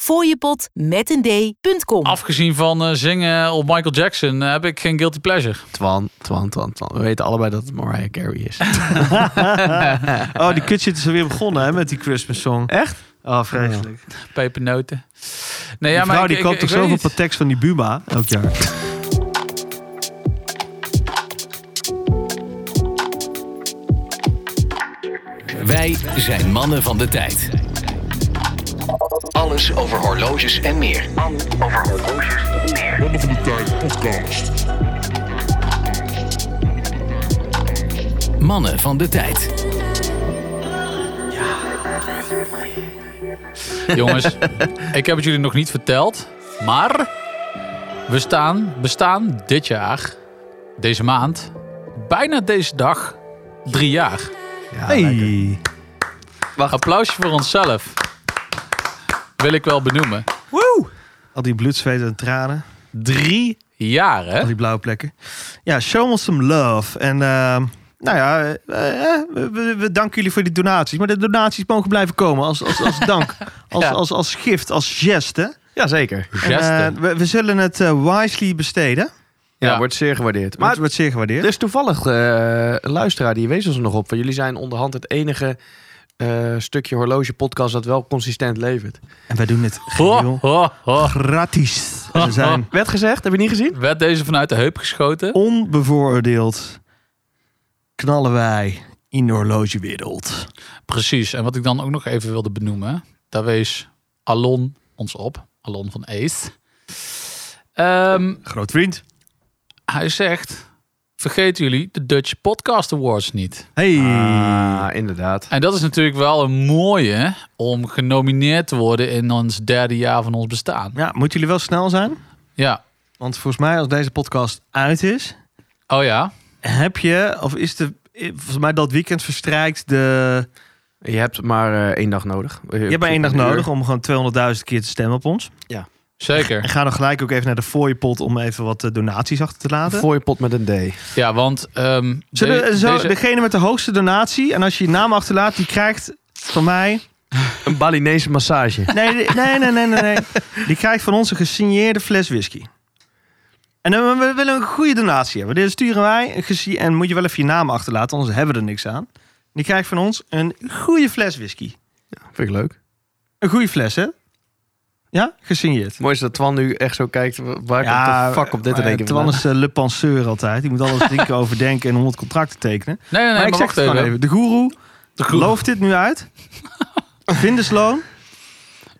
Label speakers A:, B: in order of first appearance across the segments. A: fooiepot.com.
B: Afgezien van eh, zingen op Michael Jackson eh, heb ik geen guilty pleasure.
C: Twan, Twan, Twan, Twan. We weten allebei dat het Mariah Carey is.
D: oh, die kutshit is alweer begonnen hè, met die Christmas song.
C: Echt?
D: Oh, vreselijk.
B: Pepernoten. Nee,
D: die
B: ja, maar ik-
D: vrouw Nou, die
B: ik-
D: koopt
B: ik
D: toch
B: weet
D: zoveel
B: niet.
D: pateks van die Buma elk jaar.
E: Wij zijn mannen van de tijd. Alles over horloges en meer. Mannen van de tijd
B: Jongens, ik heb het jullie nog niet verteld, maar we staan, bestaan dit jaar, deze maand, bijna deze dag, drie jaar.
D: hey.
B: Applausje voor onszelf. Wil ik wel benoemen.
D: Al die bloed, zweet en tranen.
B: Drie jaar, hè?
D: Al die blauwe plekken. Ja, show us some love. En ehm, nou ja, eh, eh, we, we- we danken jullie voor die donaties. Maar de donaties mogen blijven komen als, als, als dank. Als,
B: Ja.
D: als, als, gift, als gest. Hè?
C: Jazeker.
D: En, eh,
B: Gesten.
D: we, we zullen het eh, wisely besteden.
C: Ja,
B: Ja.
C: wordt zeer gewaardeerd.
D: Maar
C: Maar
D: het wordt zeer gewaardeerd.
C: er is toevallig eh, een luisteraar die wees ons er nog op. Van jullie zijn onderhand het enige eh, stukje horloge podcast dat wel consistent levert.
D: En wij doen het
B: Ho,
D: geheel
B: ho, ho.
D: gratis. En we zijn
C: Werd gezegd, heb je niet gezien?
B: Werd deze vanuit de heup geschoten?
D: onbevooroordeeld. Knallen wij in de horlogewereld.
B: Precies. En wat ik dan ook nog even wilde benoemen, daar wees Alon ons op. Alon van Ace. Ehm,
D: Groot vriend.
B: hij zegt, vergeet jullie de Dutch Podcast Awards niet.
D: Hey.
C: Ah, inderdaad.
B: En dat is natuurlijk wel een mooie om genomineerd te worden in ons derde jaar van ons bestaan.
D: Ja, moeten jullie wel snel zijn?
B: Ja.
D: Want volgens mij als deze podcast uit is,
B: Oh ja.
D: heb je, of is de, volgens mij dat weekend verstrijkt de...
C: Je hebt maar eh, één dag nodig.
D: Je hebt maar één dag nodig om gewoon 200.000 keer te stemmen op ons.
B: Zeker.
D: En ga dan gelijk ook even naar de fooiepot om even wat eh, donaties achter te laten.
C: Voor je pot met een D.
B: Ja, want ehm,
D: Zullen,
B: de-
D: we- eh, zo,
B: deze-
D: Degene met de hoogste donatie, en als je je naam achterlaat, die krijgt van mij...
C: Een Balinese massage.
D: Nee, nee, nee, nee, nee, nee. Die krijgt van ons een gesigneerde fles whisky. En dan, we willen een goede donatie hebben. Dus sturen wij een gesi- En moet je wel even je naam achterlaten, anders hebben we er niks aan. Die krijgt van ons een goede fles whisky.
C: Vind ik leuk.
D: Een goede fles, hè? Ja, gesigneerd.
C: Mooi is dat Twan nu echt zo kijkt. Waar komt de fuck op dit te
D: maar
C: denken?
D: Twan is eh, le penseur altijd. Die moet alles denken, overdenken en honderd contracten tekenen.
B: Nee, nee, nee,
D: maar ik
B: maar
D: zeg
B: wacht
D: het
B: even.
D: gewoon even. De goeroe
B: goeroe.
D: looft dit nu uit. Vindersloon.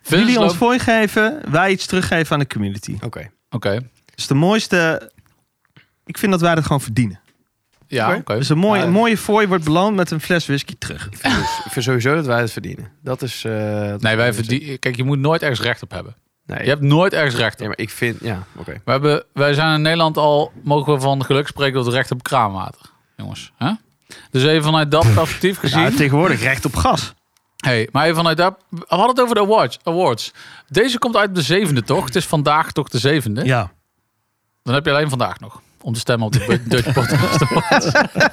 B: Vince's
D: Jullie ons
B: loop-
D: fooi geven, wij iets teruggeven aan de community.
C: Oké.
B: Oké.
D: is de mooiste. Ik vind dat wij dat gewoon verdienen.
B: Ja,
C: Oké.
B: oké.
D: Dus een mooie,
C: Ja.
D: een mooie fooi wordt beloond met een fles whisky terug.
C: Ik vind, ik vind sowieso dat wij het verdienen. Dat is. eh, dat
B: Nee, wij
C: is-
B: verdienen... Kijk, je moet nooit ergens recht op hebben.
C: Nee,
B: Je hebt nooit ergens recht
C: nee,
B: op.
C: maar ik vind. Ja, oké.
B: We hebben, wij zijn in Nederland al, mogen we van geluk spreken, dat we recht op kraanwater. Jongens. Hè? Dus even vanuit dat perspectief gezien.
D: Ja, tegenwoordig recht op gas.
B: Hey, maar even vanuit daar. We hadden het over de awards, awards. Deze komt uit de zevende, toch? Het is vandaag toch de zevende?
D: Ja.
B: Dan heb je alleen vandaag nog. Om te stemmen op de Dutch Podcast Awards.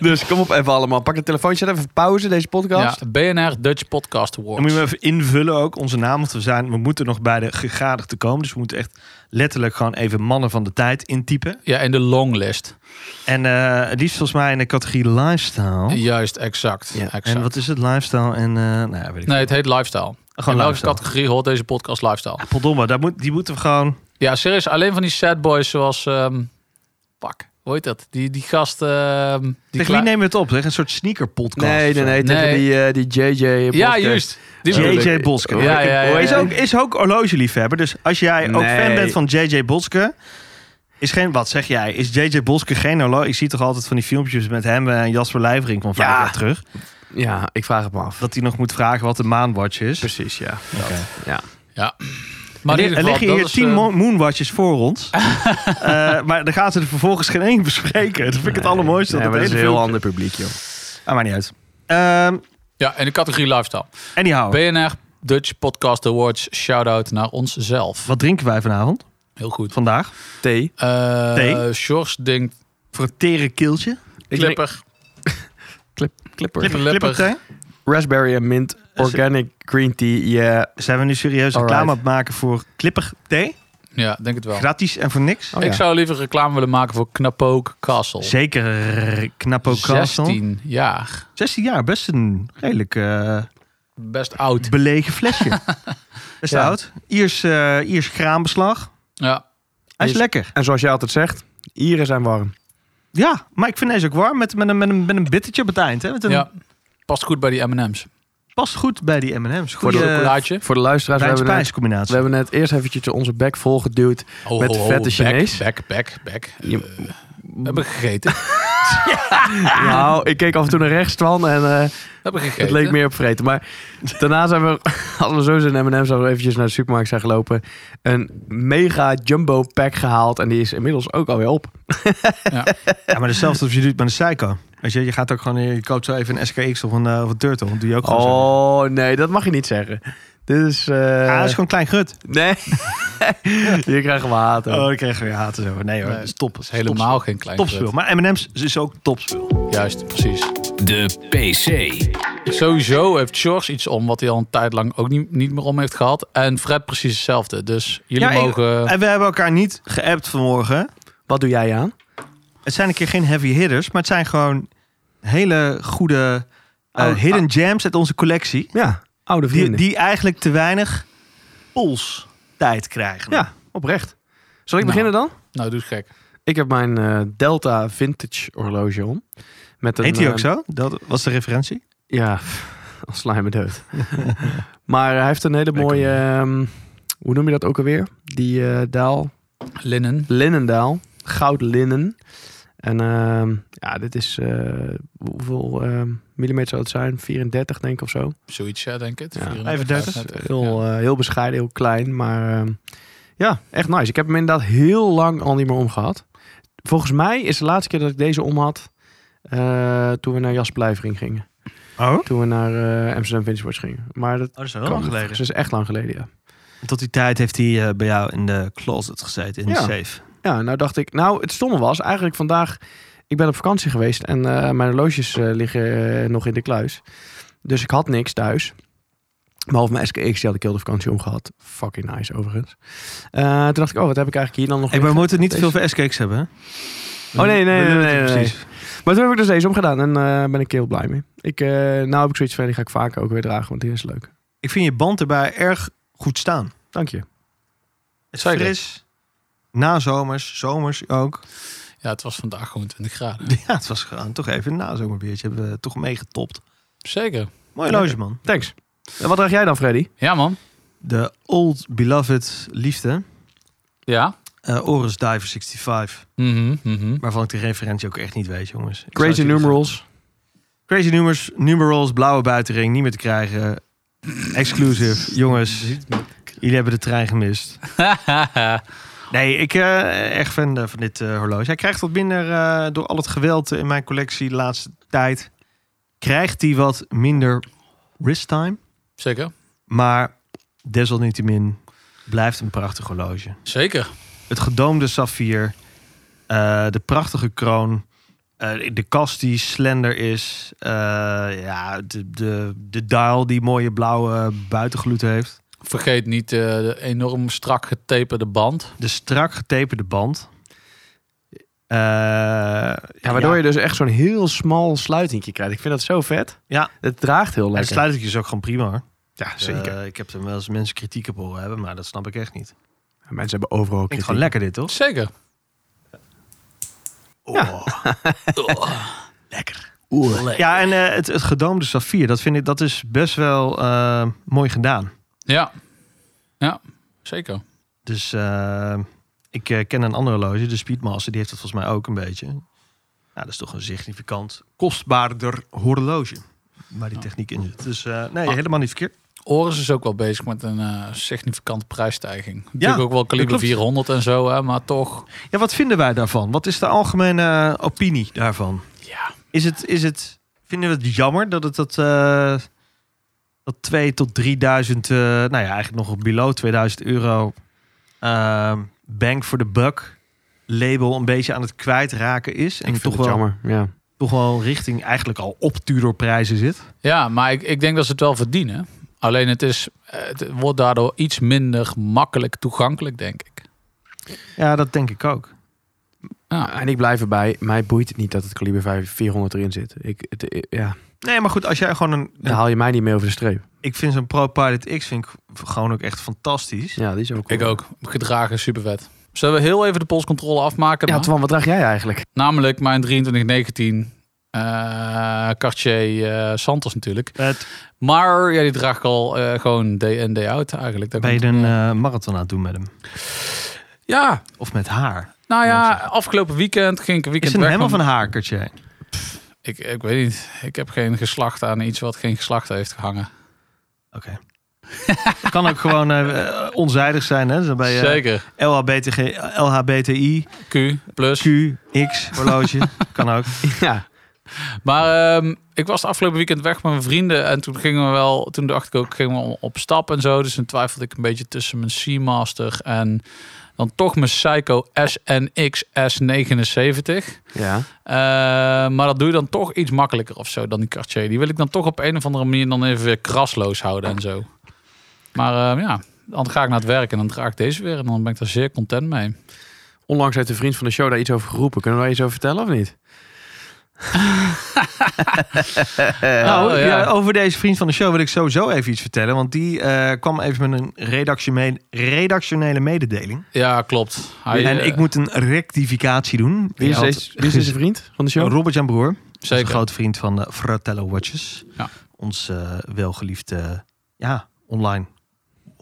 C: Dus kom op even allemaal. Pak een telefoontje, zet even pauze deze
B: Ja,
C: podcast.
B: BNR Dutch Podcast
D: Dan moet
B: Awards.
D: je hem even invullen ook, onze naam. Want we, zijn, we moeten nog bij de gegadigden komen. Dus we moeten echt letterlijk gewoon even mannen van de tijd intypen.
B: Ja, en de longlist.
D: En eh, die is volgens mij in de categorie lifestyle.
B: Juist, exact.
C: Ja, en
B: exact.
D: En wat is het? Lifestyle en... eh, nou ja, weet ik
B: Nee, het heet lifestyle.
D: Gewoon
B: in welke
D: lifestyle.
B: categorie hoort deze podcast lifestyle?
D: Verdomme, daar moet, die moeten we gewoon...
B: Ja, serieus. Alleen van die sad boys zoals... ehm, pak, hoe heet dat? Die, die gast... ehm, die
D: Tegen wie
B: klei-
D: nemen we het op? Zeg, een soort sneaker podcast.
C: Nee, nee, nee. Tegen
B: Nee.
C: die, eh, die JJ.
B: Ja,
C: podcast.
B: juist. Die
C: Eh,
B: bedoel ik.
D: JJ Boske.
B: Ja, ja, ja,
D: Is
B: ja.
D: ook, is ook horlogeliefhebber. Dus als jij ook
C: Nee.
D: fan bent van J.J. Boske... Is geen, wat zeg jij? Is J.J. Boske geen horloge? Ik zie toch altijd van die filmpjes met hem en Jasper Lijvering van vijf
C: Ja.
D: jaar terug.
C: Ja, ik vraag het me af.
D: Dat hij nog moet vragen wat een maanwatch is.
C: Precies, ja.
B: Maar in ieder
D: er
B: geval,
D: liggen hier
B: dat is,
D: tien
B: eh,
D: mo- moonwatches voor ons. Eh, maar dan gaan ze er vervolgens geen één bespreken. Dat vind ik het allermooiste.
C: Nee,
D: dat
C: maar dat
D: hele
C: is een heel
D: filmpje-
C: ander publiek, joh.
D: Ah, maar niet uit. Ehm,
B: Ja, en de categorie lifestyle.
D: Anyhow,
B: BNR Dutch Podcast Awards. Shout-out naar onszelf.
D: wat drinken wij vanavond?
B: Heel goed.
D: Vandaag?
C: Thee.
B: Eh
D: Thee?
B: Sjors denkt
D: Voor het tere keeltje.
C: Ik drink
B: klepper.
C: Clipper.
B: Clipper.
D: Clipperthee.
C: Raspberry en mint. Organic green tea. Yeah.
D: Zijn we nu serieus reclame
C: Alright.
D: aan het maken voor Clipper thee?
B: Ja, denk het wel.
D: Gratis en voor niks?
C: Oh,
B: ik
C: ja.
B: zou liever reclame willen maken voor Knapook Castle.
D: Zeker eh, Knappo Castle.
B: 16 jaar.
D: 16 jaar, best een redelijk eh,
B: Best oud.
D: belegen flesje. best
C: Ja.
D: oud. Iers, eh, Iers graanbeslag.
B: Ja.
D: Hij is
C: Is-
D: lekker.
C: En zoals je altijd zegt, Ieren zijn warm.
D: Ja, maar ik vind deze ook warm met, met, een, met, een, met een bittertje op het eind. Hè? Met een,
B: ja. Past goed bij die M&M's.
D: Past goed bij die M&M's.
B: Voor
D: Goede
B: de chocolaatje.
C: Voor de luisteraars, we hebben, net, we
D: combinatie.
C: hebben net eerst eventjes onze bek volgeduwd.
B: Oh,
C: Met vette
B: back,
C: Chinees.
B: Back, back, back.
C: Je-
B: Eh, we hebben gegeten. we
C: Nou, ik keek af en toe naar rechts, Twan, en eh,
B: hebben gegeten.
C: het leek meer op vreten. Maar daarna zijn we, hadden we sowieso een M&M's, als we eventjes naar de supermarkt zijn gelopen, een mega jumbo pack gehaald. En die is inmiddels ook alweer op.
D: Ja, maar hetzelfde als je doet met een Seiko. Weet je, je gaat ook gewoon, je koopt zo even een SKX of een, eh, of een Turtle. Dat doe je ook gewoon zo.
C: Oh, nee, dat mag je niet zeggen. Dit is... eh,
D: Ja, dat Ah, is gewoon klein grut.
C: Nee. je krijgt hem haat.
D: Oh, ik kreeg weer haten zo. Nee hoor, dat is top. Dat is
B: Helemaal geen klein
D: Topspul. Maar M&M's is ook topspul.
B: vet. Juist, precies.
E: De PC.
B: Sowieso heeft George iets om wat hij al een tijd lang ook niet, niet meer om heeft gehad. En Fred precies hetzelfde. Dus jullie
D: Ja, ik-
B: mogen...
D: En we hebben elkaar niet geappt vanmorgen.
C: Wat doe jij aan?
D: Het zijn een keer geen heavy hitters, maar het zijn gewoon hele goede eh,
C: Oh,
D: hidden gems uit onze collectie.
C: Ja, oude
D: Die,
C: vrienden.
D: die eigenlijk te weinig pols tijd krijgen.
C: Ja, oprecht. Zal ik
B: Nou.
C: beginnen dan?
B: Nou, doe het gek.
C: Ik heb mijn eh, Delta Vintage horloge om. Met een,
D: Heet hij ook
C: eh,
D: zo? Dat was de referentie.
C: Ja, als slijmen dood. maar eh, hij heeft een hele
D: Lekker.
C: mooie, ehm, hoe noem je dat ook alweer? Die eh, daal,
B: Linnen.
C: linnendaal, goud linnen. En ehm, ja, dit is, eh, hoeveel ehm, millimeter zou het zijn? 34 denk ik of zo.
B: Zoiets, ja, denk ik.
C: Ja.
B: 34,
D: 35.
B: 35, ja.
C: Heel, eh, heel bescheiden, heel klein. Maar ehm, ja, echt nice. Ik heb hem inderdaad heel lang al niet meer omgehad. Volgens mij is de laatste keer dat ik deze om had... eh, toen we naar Jas Blijvering gingen.
D: Oh?
C: Toen we naar eh, Amsterdam Vintage Watch gingen. Maar dat
D: Oh, dat is
C: kan
D: heel lang
C: niet.
D: geleden.
C: Dus dat is echt lang geleden, ja.
D: Tot die tijd heeft hij eh, bij jou in de closet gezeten, in
C: Ja.
D: de safe.
C: Ja, nou dacht ik... Nou, het stomme was eigenlijk vandaag... Ik ben op vakantie geweest en eh, mijn horloges eh, liggen eh, nog in de kluis. Dus ik had niks thuis. Behalve mijn SKX, die had ik heel de vakantie omgehad. Fucking nice, overigens. Eh, toen dacht ik, oh, wat heb ik eigenlijk hier dan nog
D: Hey, maar we moeten niet te veel
C: Deze-
D: voor SKX hebben. hè?
C: Oh nee, nee,
D: We
C: nee,
D: doen het
C: nee,
D: niet
C: nee,
D: precies.
C: Maar toen heb ik dus deze omgedaan en eh, ben ik heel blij mee. Ik, eh, nou heb ik zoiets van, die ga ik vaker ook weer dragen, want die is leuk.
D: Ik vind je band erbij erg goed staan.
C: Dank je.
D: Het is
B: Zeker.
D: fris. Na zomers, zomers ook.
B: Ja, het was vandaag gewoon 20 graden.
D: Ja, het was gewoon toch even een nazomerbeertje. Hebben we toch meegetopt.
B: Zeker.
D: Mooi loge, man.
C: Thanks. En wat draag jij dan, Freddy?
B: Ja, man.
D: De Old Beloved Liefde.
B: Ja.
D: eh Oris Diver 65.
B: Mhm, mhm.
D: Waarvan ik de referentie ook echt niet weet, jongens. Ik zou
C: Crazy
D: het jullie
C: Numerals.
D: zeggen. Crazy numerals, numerals, blauwe buitenring. Niet meer te krijgen. Exclusive. jongens, jullie hebben de trein gemist. Nee, ik eh echt fan eh, van dit eh, horloge. Hij krijgt wat minder eh, door al het geweld in mijn collectie de laatste tijd. Krijgt hij wat minder wrist time.
B: Zeker.
D: Maar desalniettemin blijft een prachtig horloge.
B: Zeker.
D: Het gedoomde saffier. eh, de prachtige kroon. eh, de kast die slender is. eh, ja, de, de, de dial die mooie blauwe buitengloed heeft.
B: Vergeet niet eh, de enorm strak getaperde band.
D: De strak getaperde band. Eh,
C: Ja, waardoor je dus echt zo'n heel smal sluitingje krijgt. Ik vind dat zo vet.
D: Ja.
C: Het draagt heel lekker.
D: En sluit ik je ook gewoon prima hoor.
C: Ja,
D: Eh, ik heb er wel eens mensen kritiek op horen hebben, maar dat snap ik echt niet. Ik
C: Mensen hebben overal
D: vind
C: kritiek.
D: het gewoon lekker dit, toch?
B: Zeker.
E: Oh.
D: Ja, en eh, het, het gedoomde saffier, dat vind ik, dat is best wel eh, mooi gedaan.
B: Ja. Ja, zeker.
D: Dus eh, ik eh, ken een andere horloge, de Speedmaster, die heeft dat volgens mij ook een beetje. Nou, dat is toch een significant kostbaarder horloge waar die techniek in zit. Dus eh, nee,
B: Ah.
D: helemaal niet verkeerd.
B: Oris is ook wel bezig met een eh, significante prijsstijging. Natuurlijk ook wel kaliber
D: klopt.
B: 400 en zo, hè, maar toch.
D: Ja, wat vinden wij daarvan? Wat is de algemene eh, opinie daarvan?
B: Ja.
D: Is het, is het Vinden we het jammer dat het dat, eh dat 2 tot 3000, eh, nou ja, eigenlijk nog below 2000 euro ehm bank for the buck label een beetje aan het kwijtraken is. En
C: Ik vind
D: toch
C: het
D: wel,
C: jammer. Ja.
D: toch wel richting eigenlijk al op Tudor-prijzen zit.
B: Ja, maar ik, ik denk dat ze het wel verdienen. Alleen het, is, eh, het wordt daardoor iets minder makkelijk toegankelijk, denk ik.
D: Ja, dat denk ik ook.
C: En ik blijf erbij. Mij boeit het niet dat het kaliber 5 400 erin zit. Ik, het, eh, ja,
D: Nee, maar goed, als jij gewoon een...
C: daar haal je mij niet mee over de streep.
D: Ik vind zo'n Pro Pilot X vind ik gewoon ook echt fantastisch.
C: Ja, die is ook
B: Ik ook. Gedragen, super vet. Zullen we heel even de polscontrole afmaken?
C: Ja,
B: dan?
C: Twan, wat draag jij eigenlijk?
B: Namelijk mijn 2319 eh Cartier eh, Santos natuurlijk.
D: Het,
B: Maar ja, die draag ik al eh, gewoon day in day out eigenlijk. Daar
D: ben je
B: komt
D: een
B: het neer.
D: eh, marathon aan het doen met hem?
B: Ja,
D: Of met haar?
B: nou ja,
D: Ja, zeg.
B: afgelopen weekend ging ik een
D: Is
B: weekend
D: het
B: weg.
D: helemaal
B: om-
D: van haar, Cartier?
B: ik, ik weet niet. Ik heb geen geslacht aan iets wat geen geslacht heeft gehangen.
D: Oké. Het kan ook gewoon eh, eh, onzijdig zijn, hè? Dus dan ben je
B: Zeker.
D: LHBTG, LHBTI,
B: Q, plus.
D: Q, X, horloge. kan ook.
C: Ja,
B: Maar ehm, ik was het afgelopen weekend weg met mijn vrienden. En toen gingen we wel, toen dacht ik ook, gingen we op stap en zo. Dus toen twijfelde ik een beetje tussen mijn Seamaster en dan toch mijn Psycho SNX S79.
C: ja.
B: Eh, maar dat doe je dan toch iets makkelijker of zo dan die Cartier. Die wil ik dan toch op een of andere manier dan even weer krasloos houden en zo. Maar ehm, ja, dan ga ik naar het werk en dan draag ik deze weer. En dan ben ik daar zeer content mee.
C: Onlangs heeft een vriend van de show daar iets over geroepen. Kunnen wij iets over vertellen of niet?
D: nou,
B: oh, ja.
D: ja, over deze vriend van de show wil ik sowieso even iets vertellen. Want die eh, kwam even met een redactionele, redactionele mededeling.
B: Ja, klopt. Hij,
D: en
B: eh,
D: ik moet een rectificatie doen.
C: Wie is,
D: Ja,
C: deze, wie is deze vriend van de show?
D: Robert Jan Broer. Dat is
B: zeker.
D: een grote vriend van de Fratello Watches.
B: Ja.
D: Ons eh, welgeliefde ja, online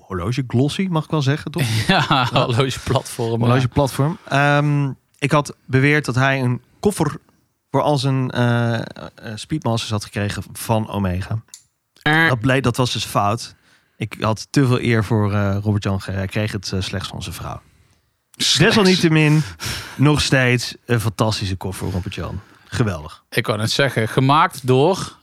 D: horloge glossy, mag ik wel zeggen, toch?
B: Ja, horloge platform.
D: horloge platform. Ehm, ik had beweerd dat hij een koffer voor al zijn eh, eh, Speedmasters had gekregen van Omega. Dat, bleek, dat was dus fout. Ik had te veel eer voor eh, Robert-Jan. ge- Hij kreeg het eh, slechts van zijn vrouw. Desalniettemin, nog steeds een fantastische koffer, Robert-Jan. Geweldig.
B: Ik kan het zeggen. Gemaakt door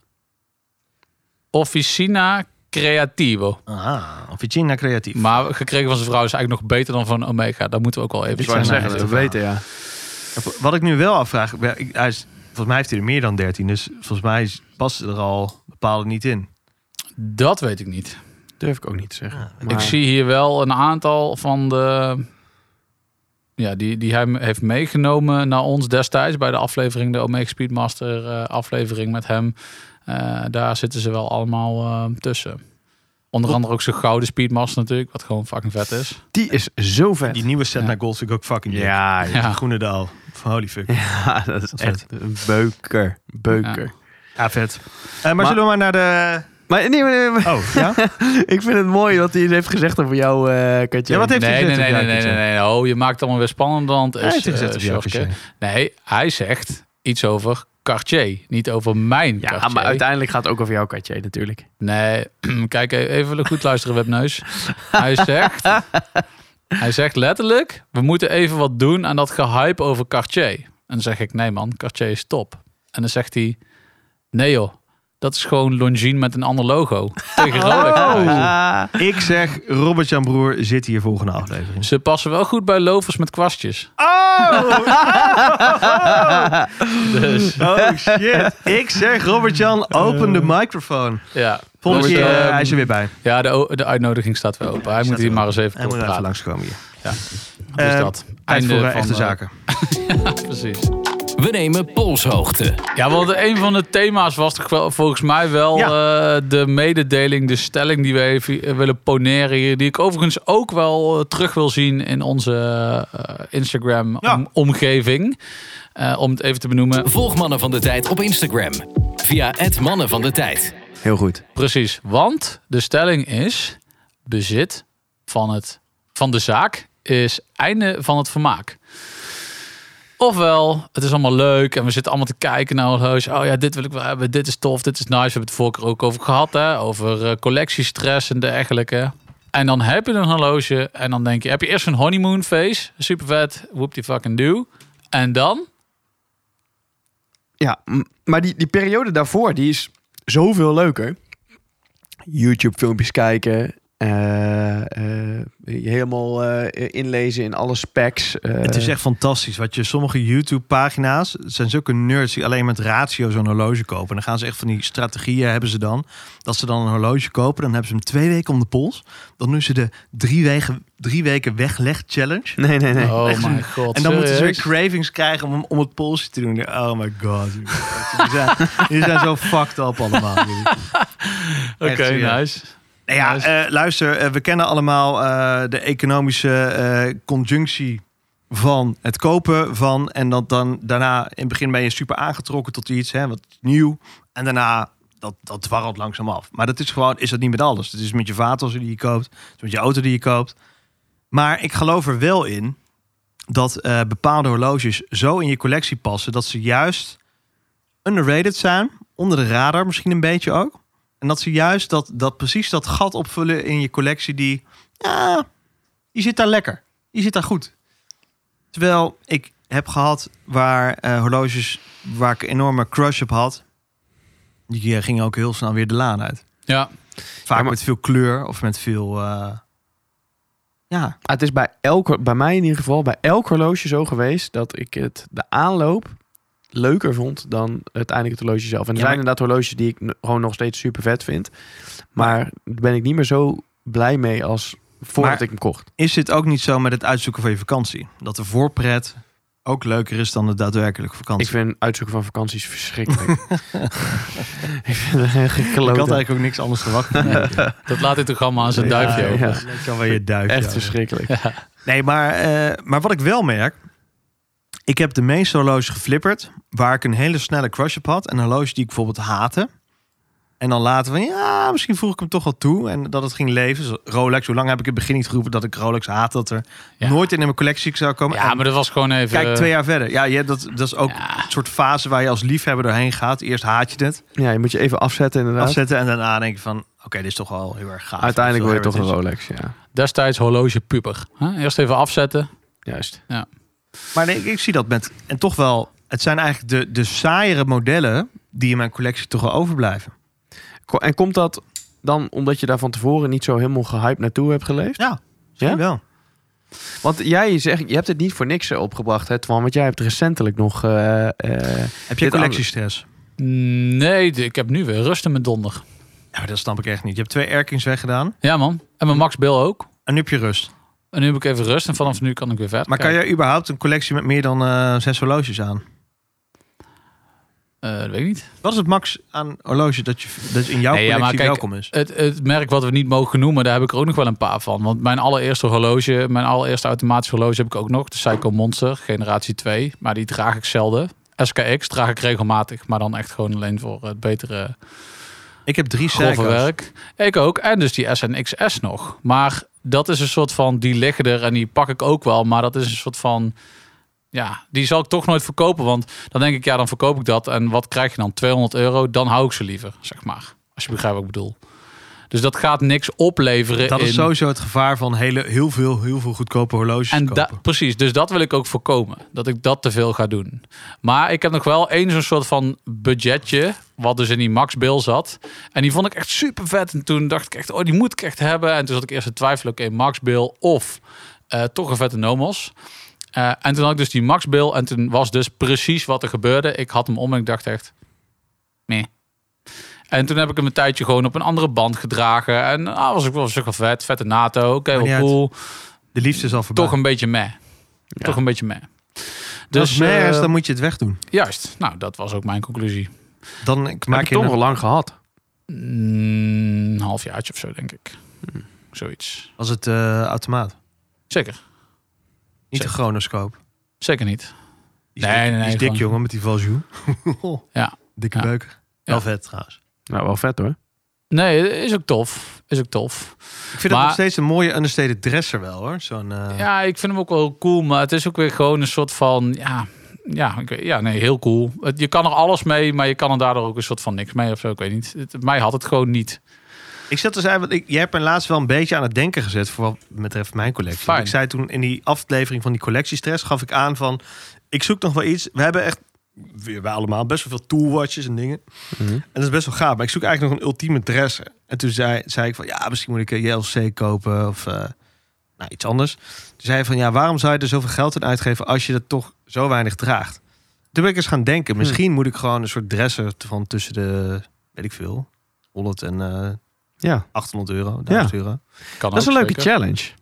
B: Officina Creativo.
D: Ah, Officina Creatief.
B: Maar gekregen van zijn vrouw is eigenlijk nog beter dan van Omega. Daar moeten we ook wel even
C: Ik wou
D: zijn
C: zeggen
D: eigen
C: dat we
D: verhaal.
C: weten, ja.
D: Wat ik nu wel afvraag, ja, ik, hij is, volgens mij heeft hij er meer dan 13, dus volgens mij is- past er al bepaalde niet in.
B: Dat weet ik niet.
C: Durf ik ook niet te zeggen.
B: Ik
C: Maar-
B: zie hier wel een aantal van de... Ja, die, die hij heeft meegenomen naar ons destijds bij de aflevering, de Omega Speedmaster eh, aflevering met hem. Eh, daar zitten ze wel allemaal eh, tussen. Onder andere ook zijn gouden Speedmaster natuurlijk, wat gewoon fucking vet is.
C: Die is zo vet.
D: Die nieuwe set
B: Ja.
D: naar Gold vind ik ook fucking dik.
C: Ja, ja.
B: Ja.
D: Groenendaal. Van holy fuck.
C: Ah, dat is
D: Dat
C: echt een beuker. Beuker.
D: Ja, vet. Eh, maar, zullen we maar naar de...
C: Maar, nee, maar, nee, maar-
D: Oh, ja?
C: ik vind het mooi wat hij heeft gezegd over jou, eh Katje.
D: Ja, wat heeft hij
B: nee, nee,
D: gezegd
B: nee, nee, nee,
D: op jou,
B: nee,
D: Kitje?
B: nee. Oh, je maakt het allemaal weer spannend, want
D: Hij heeft
B: eh,
D: het gezegd op jou,
B: Sjorke.
D: Kitje.
B: Nee, hij zegt iets over Cartier, niet over mijn
C: ja,
B: Cartier.
C: maar uiteindelijk gaat het ook over jou, Katje, natuurlijk.
B: Nee, kijk e- even goed luisteren, webneus. Hij zegt, hij zegt letterlijk, we moeten even wat doen aan dat gehype over Cartier. En dan zeg ik, nee man, Cartier is top. En dan zegt hij, nee joh, dat is gewoon Longines met een ander logo. Tegen Rolex.
D: Oh. Ik zeg, Robert-Jan Broer zit hier volgende aflevering.
B: Ze passen wel goed bij lovers met kwastjes. Dus
D: Oh, shit. Ik zeg, Robert-Jan, open de microfoon.
B: ja.
D: Volgende
B: Dus,
D: keer, eh,
B: ehm,
D: hij is er weer bij.
B: Ja, de, o- de uitnodiging staat wel open. Hij
D: staat
B: moet hier
D: wel
B: maar eens even
D: Hij
B: kort
D: moet er even
B: praten.
D: langskomen hier.
B: Dus
D: Eh,
B: dat.
D: Tijd voor eh,
B: van
D: echte
B: de-
D: zaken.
B: Precies.
E: We nemen polshoogte.
B: Ja, want een van de thema's was toch wel, volgens mij wel
D: Ja.
B: eh, de mededeling, de stelling die we even eh, willen poneren hier. Die ik overigens ook wel eh, terug wil zien in onze eh,
D: Ja.
B: Instagram-omgeving. Eh, om het even te benoemen.
E: Volg Mannen van de Tijd op Instagram. Via het Mannen van de Tijd.
C: Heel goed.
B: Precies, want de stelling is: bezit van, het, van de zaak is einde van het vermaak. Ofwel, het is allemaal leuk en we zitten allemaal te kijken naar horloges. Oh ja, dit wil ik wel hebben, dit is tof, dit is nice. We hebben het vorige keer ook over gehad, hè? over eh, collectiestress en dergelijke. En dan heb je een horloge en dan denk je, heb je eerst een honeymoon face, super vet, whoop die fucking do. En dan?
C: Ja, m- maar die, die periode daarvoor, die is zoveel leuker. YouTube-filmpjes kijken. eh, eh, je helemaal eh, inlezen in alle specs. eh.
D: Het is echt fantastisch. Wat je sommige YouTube-pagina's. Het zijn zulke nerds die alleen met ratio zo'n horloge kopen. En dan gaan ze echt van die strategieën hebben ze dan. Dat ze dan een horloge kopen. Dan hebben ze hem twee weken om de pols. Dan doen ze de drie weken, drie weken wegleg-challenge.
C: Nee, nee, nee.
B: Oh mijn god.
D: En dan moeten ze weer
B: serieus?
D: cravings krijgen om, om het polsje te doen. Oh my god. Die zijn, die zijn zo fucked up allemaal.
B: Oké,
D: Echt, ja.
B: nice.
D: Nou ja,
B: Juist.
D: eh, luister, eh, we kennen allemaal eh, de economische eh, conjunctie van het kopen van. En dat dan daarna, in het begin ben je super aangetrokken tot iets, hè, wat nieuw. En daarna, dat, dat dwarrelt langzaam af. Maar dat is gewoon, is dat niet met alles. Het is met je vaatwasser die je koopt, het is met je auto die je koopt. Maar ik geloof er wel in dat eh, bepaalde horloges zo in je collectie passen... dat ze juist underrated zijn, onder de radar misschien een beetje ook. En dat ze juist dat, dat precies dat gat opvullen in je collectie die... Ja, je zit daar lekker. Je zit daar goed. Terwijl ik heb gehad waar eh, horloges waar ik een enorme crush op had... die eh, gingen ook heel snel weer de laan uit.
B: Ja,
D: Vaak
C: maar-
D: met veel kleur of met veel... eh, ja,
C: Ah, het is bij, elk, bij mij in ieder geval, bij elk horloge zo geweest dat ik het de aanloop leuker vond dan uiteindelijk het horloge zelf. En er
D: Ja,
C: zijn
D: maar-
C: inderdaad horloges die ik n- gewoon nog steeds super vet vind. Maar daar ben ik niet meer zo blij mee als voordat
D: Maar-
C: ik hem kocht.
D: is dit ook niet zo met het uitzoeken van je vakantie? Dat de voorpret ook leuker is dan de daadwerkelijke vakantie.
C: Ik vind uitzoeken van vakanties verschrikkelijk. ik vind het echt
D: Ik
C: gekloten.
D: had eigenlijk ook niks anders verwacht.
B: dat laat hij toch allemaal aan zijn duifje
D: ja,
B: over.
D: ja. Lekker wel je duifje.
C: Echt
D: over.
C: verschrikkelijk.
D: Nee, maar, eh, maar wat ik wel merk. Ik heb de meeste horloges geflipperd. Waar ik een hele snelle crush op had. En een horloge die ik bijvoorbeeld haatte. En dan later van ja, misschien voeg ik hem toch wel toe. En dat het ging leven. Zo- Rolex, hoe lang heb ik in het begin niet geroepen dat ik Rolex haat. Dat er
B: Ja.
D: nooit in mijn collectie zou komen.
B: Ja,
D: En
B: maar dat was gewoon even...
D: Kijk, twee jaar verder. Ja, je, dat, dat is ook
B: Ja.
D: een soort fase waar je als liefhebber doorheen gaat. Eerst haat je het,
C: Ja, je moet je even afzetten inderdaad.
D: afzetten en daarna denk je van... oké, dit is toch wel heel erg gaaf.
C: Uiteindelijk
D: Of
C: word je toch
D: whatever
C: een
D: het is.
C: Rolex, ja.
B: destijds horlogepuber. Huh? Eerst even afzetten.
C: Juist.
D: Maar nee, ik, ik zie dat met. En toch wel, het zijn eigenlijk de, de saaiere modellen die in mijn collectie toch wel overblijven.
C: Ko- En komt dat dan omdat je daar van tevoren niet zo helemaal gehyped naartoe hebt geleefd? Ja?
D: wel.
C: Want jij zegt, je hebt het niet voor niks eh, opgebracht, hè, Twan? Want jij hebt recentelijk nog... eh, eh,
D: Heb je
C: Dit
D: collectiestress?
B: Nee, de- ik heb nu weer rust in mijn donder.
D: Ja, maar dat snap ik echt niet. Je hebt twee erkings weggedaan
B: Ja, man. En mijn Max Bill ook.
D: en nu heb je rust.
B: En nu heb ik even rust en vanaf nu kan ik weer verder.
D: Maar kan je überhaupt een collectie met meer dan eh, zes horloges aan?
B: Eh, dat weet ik niet.
D: Wat is het max aan horloge dat, je, dat in jouw
B: Nee, ja, maar
D: collectie
B: kijk,
D: welkom is?
B: Het, het merk wat we niet mogen noemen, daar heb ik er ook nog wel een paar van. Want mijn allereerste horloge, mijn allereerste automatische horloge heb ik ook nog. De Psycho Monster, generatie 2. Maar die draag ik zelden. SKX draag ik regelmatig, maar dan echt gewoon alleen voor het betere
D: Ik heb drie
B: grove
D: cycles.
B: werk. Ik ook. En dus die SNXS nog. Maar dat is een soort van, die liggen er en die pak ik ook wel. Maar dat is een soort van, ja, die zal ik toch nooit verkopen. Want dan denk ik, ja, dan verkoop ik dat. En wat krijg je dan? 200 euro? Dan hou ik ze liever, zeg maar. Als je begrijpt wat ik bedoel. Dus dat gaat niks opleveren
D: Dat
B: in...
D: is sowieso het gevaar van hele, heel, veel, heel veel goedkope horloges
B: En da-
D: kopen.
B: precies, dus dat wil ik ook voorkomen. Dat ik dat te veel ga doen. Maar ik heb nog wel één zo'n soort van budgetje. Wat dus in die Max Bill zat. En die vond ik echt super vet. En toen dacht ik echt, oh, die moet ik echt hebben. En toen zat ik eerst te twijfelen, oké, Max Bill of eh, toch een vette Nomos. Eh, en toen had ik dus die Max Bill. En toen was dus precies wat er gebeurde. Ik had hem om en ik dacht echt, nee. En toen heb ik hem een tijdje gewoon op een andere band gedragen. En ah, was ik wel, was ook wel vet. Vette NATO. Oké,
D: Maar niet
B: wel
D: uit.
B: cool
D: De liefde is al voorbij.
B: toch een beetje meh. Toch een beetje meh.
D: dus, Als
B: Dus
D: het meer is,
B: eh,
D: dan moet je het wegdoen.
B: juist. Nou, dat was ook mijn conclusie.
D: Dan ik
C: heb
D: maak
C: je
D: je
C: toch
D: een,
C: wel lang gehad.
B: Mm, een halfjaartje of zo, denk ik.
C: Hmm.
B: Zoiets.
D: als het eh, automaat.
B: Zeker.
D: Niet de
B: Zeker.
D: chronoscoop.
B: Zeker niet.
D: Die is
B: Nee,
D: dik,
B: nee,
D: die
B: nee,
D: is dik
B: gewoon-
D: jongen, met die Valjoux.
B: Ja.
D: Dikke
B: Ja.
D: beuk.
B: Ja.
D: Wel vet trouwens.
C: Nou, wel vet hoor.
B: Nee, is ook tof. Is ook tof.
D: Ik vind
B: Maar-
D: dat nog steeds een mooie understated dresser wel hoor. Zo'n, eh,
B: Ja, ik vind hem ook wel cool. Maar het is ook weer gewoon een soort van... Ja, ja, ik weet- ja nee, heel cool. Het- Je kan er alles mee, maar je kan er daardoor ook een soort van niks mee of zo. Ik weet niet. Het- mij had het gewoon niet.
D: Ik zat dus eigenlijk, ik, jij hebt mij laatst wel een beetje aan het denken gezet voor wat betreft mijn collectie.
B: Fijn.
D: Ik zei toen in die aflevering van die collectiestress, gaf ik aan van, ik zoek nog wel iets. We hebben echt weer bij allemaal, best wel veel toolwatches en dingen.
C: Mhm.
D: En dat is best wel gaaf. Maar ik zoek eigenlijk nog een ultieme dresser. En toen zei, zei ik van, ja, misschien moet ik een JLC kopen of eh, nou, iets anders. Toen zei hij van, ja, waarom zou je er zoveel geld in uitgeven als je dat toch zo weinig draagt? Toen ben ik eens gaan denken, misschien moet ik gewoon een soort dresser van tussen de, weet ik veel, 100 en eh,
C: Ja,
D: 800 euro, 1000 euro.
B: Kan
C: dat is een
B: ook,
C: leuke
B: zeker.
C: challenge. Om
D: Daar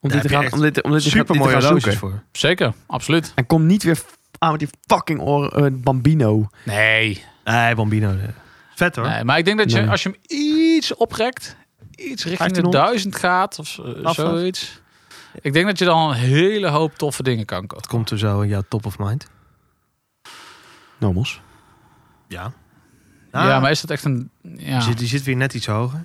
C: dit te
D: heb je
C: gaan,
D: echt
C: om dit, om dit te gaan-
D: Super
C: dit te
D: mooie
C: gaan
D: horloges
C: zoeken.
D: voor.
B: Zeker, absoluut.
C: En kom niet weer f- aan met die fucking oor, eh, Bambino.
B: Nee.
D: Nee, Bambino. eh, Vet hoor.
B: nee. Maar ik denk dat je,
C: Nee.
B: als je hem iets oprekt, iets richting de
D: 1500.
B: duizend gaat of eh,
D: Af, af.
B: zoiets. Ik denk dat je dan een hele hoop toffe dingen kan kopen.
D: Wat komt er zo in jouw top of mind?
C: Nomos.
D: Ja.
B: Ja, maar is dat echt een... Ja.
D: Nou, Die, zit, die zit weer net iets hoger.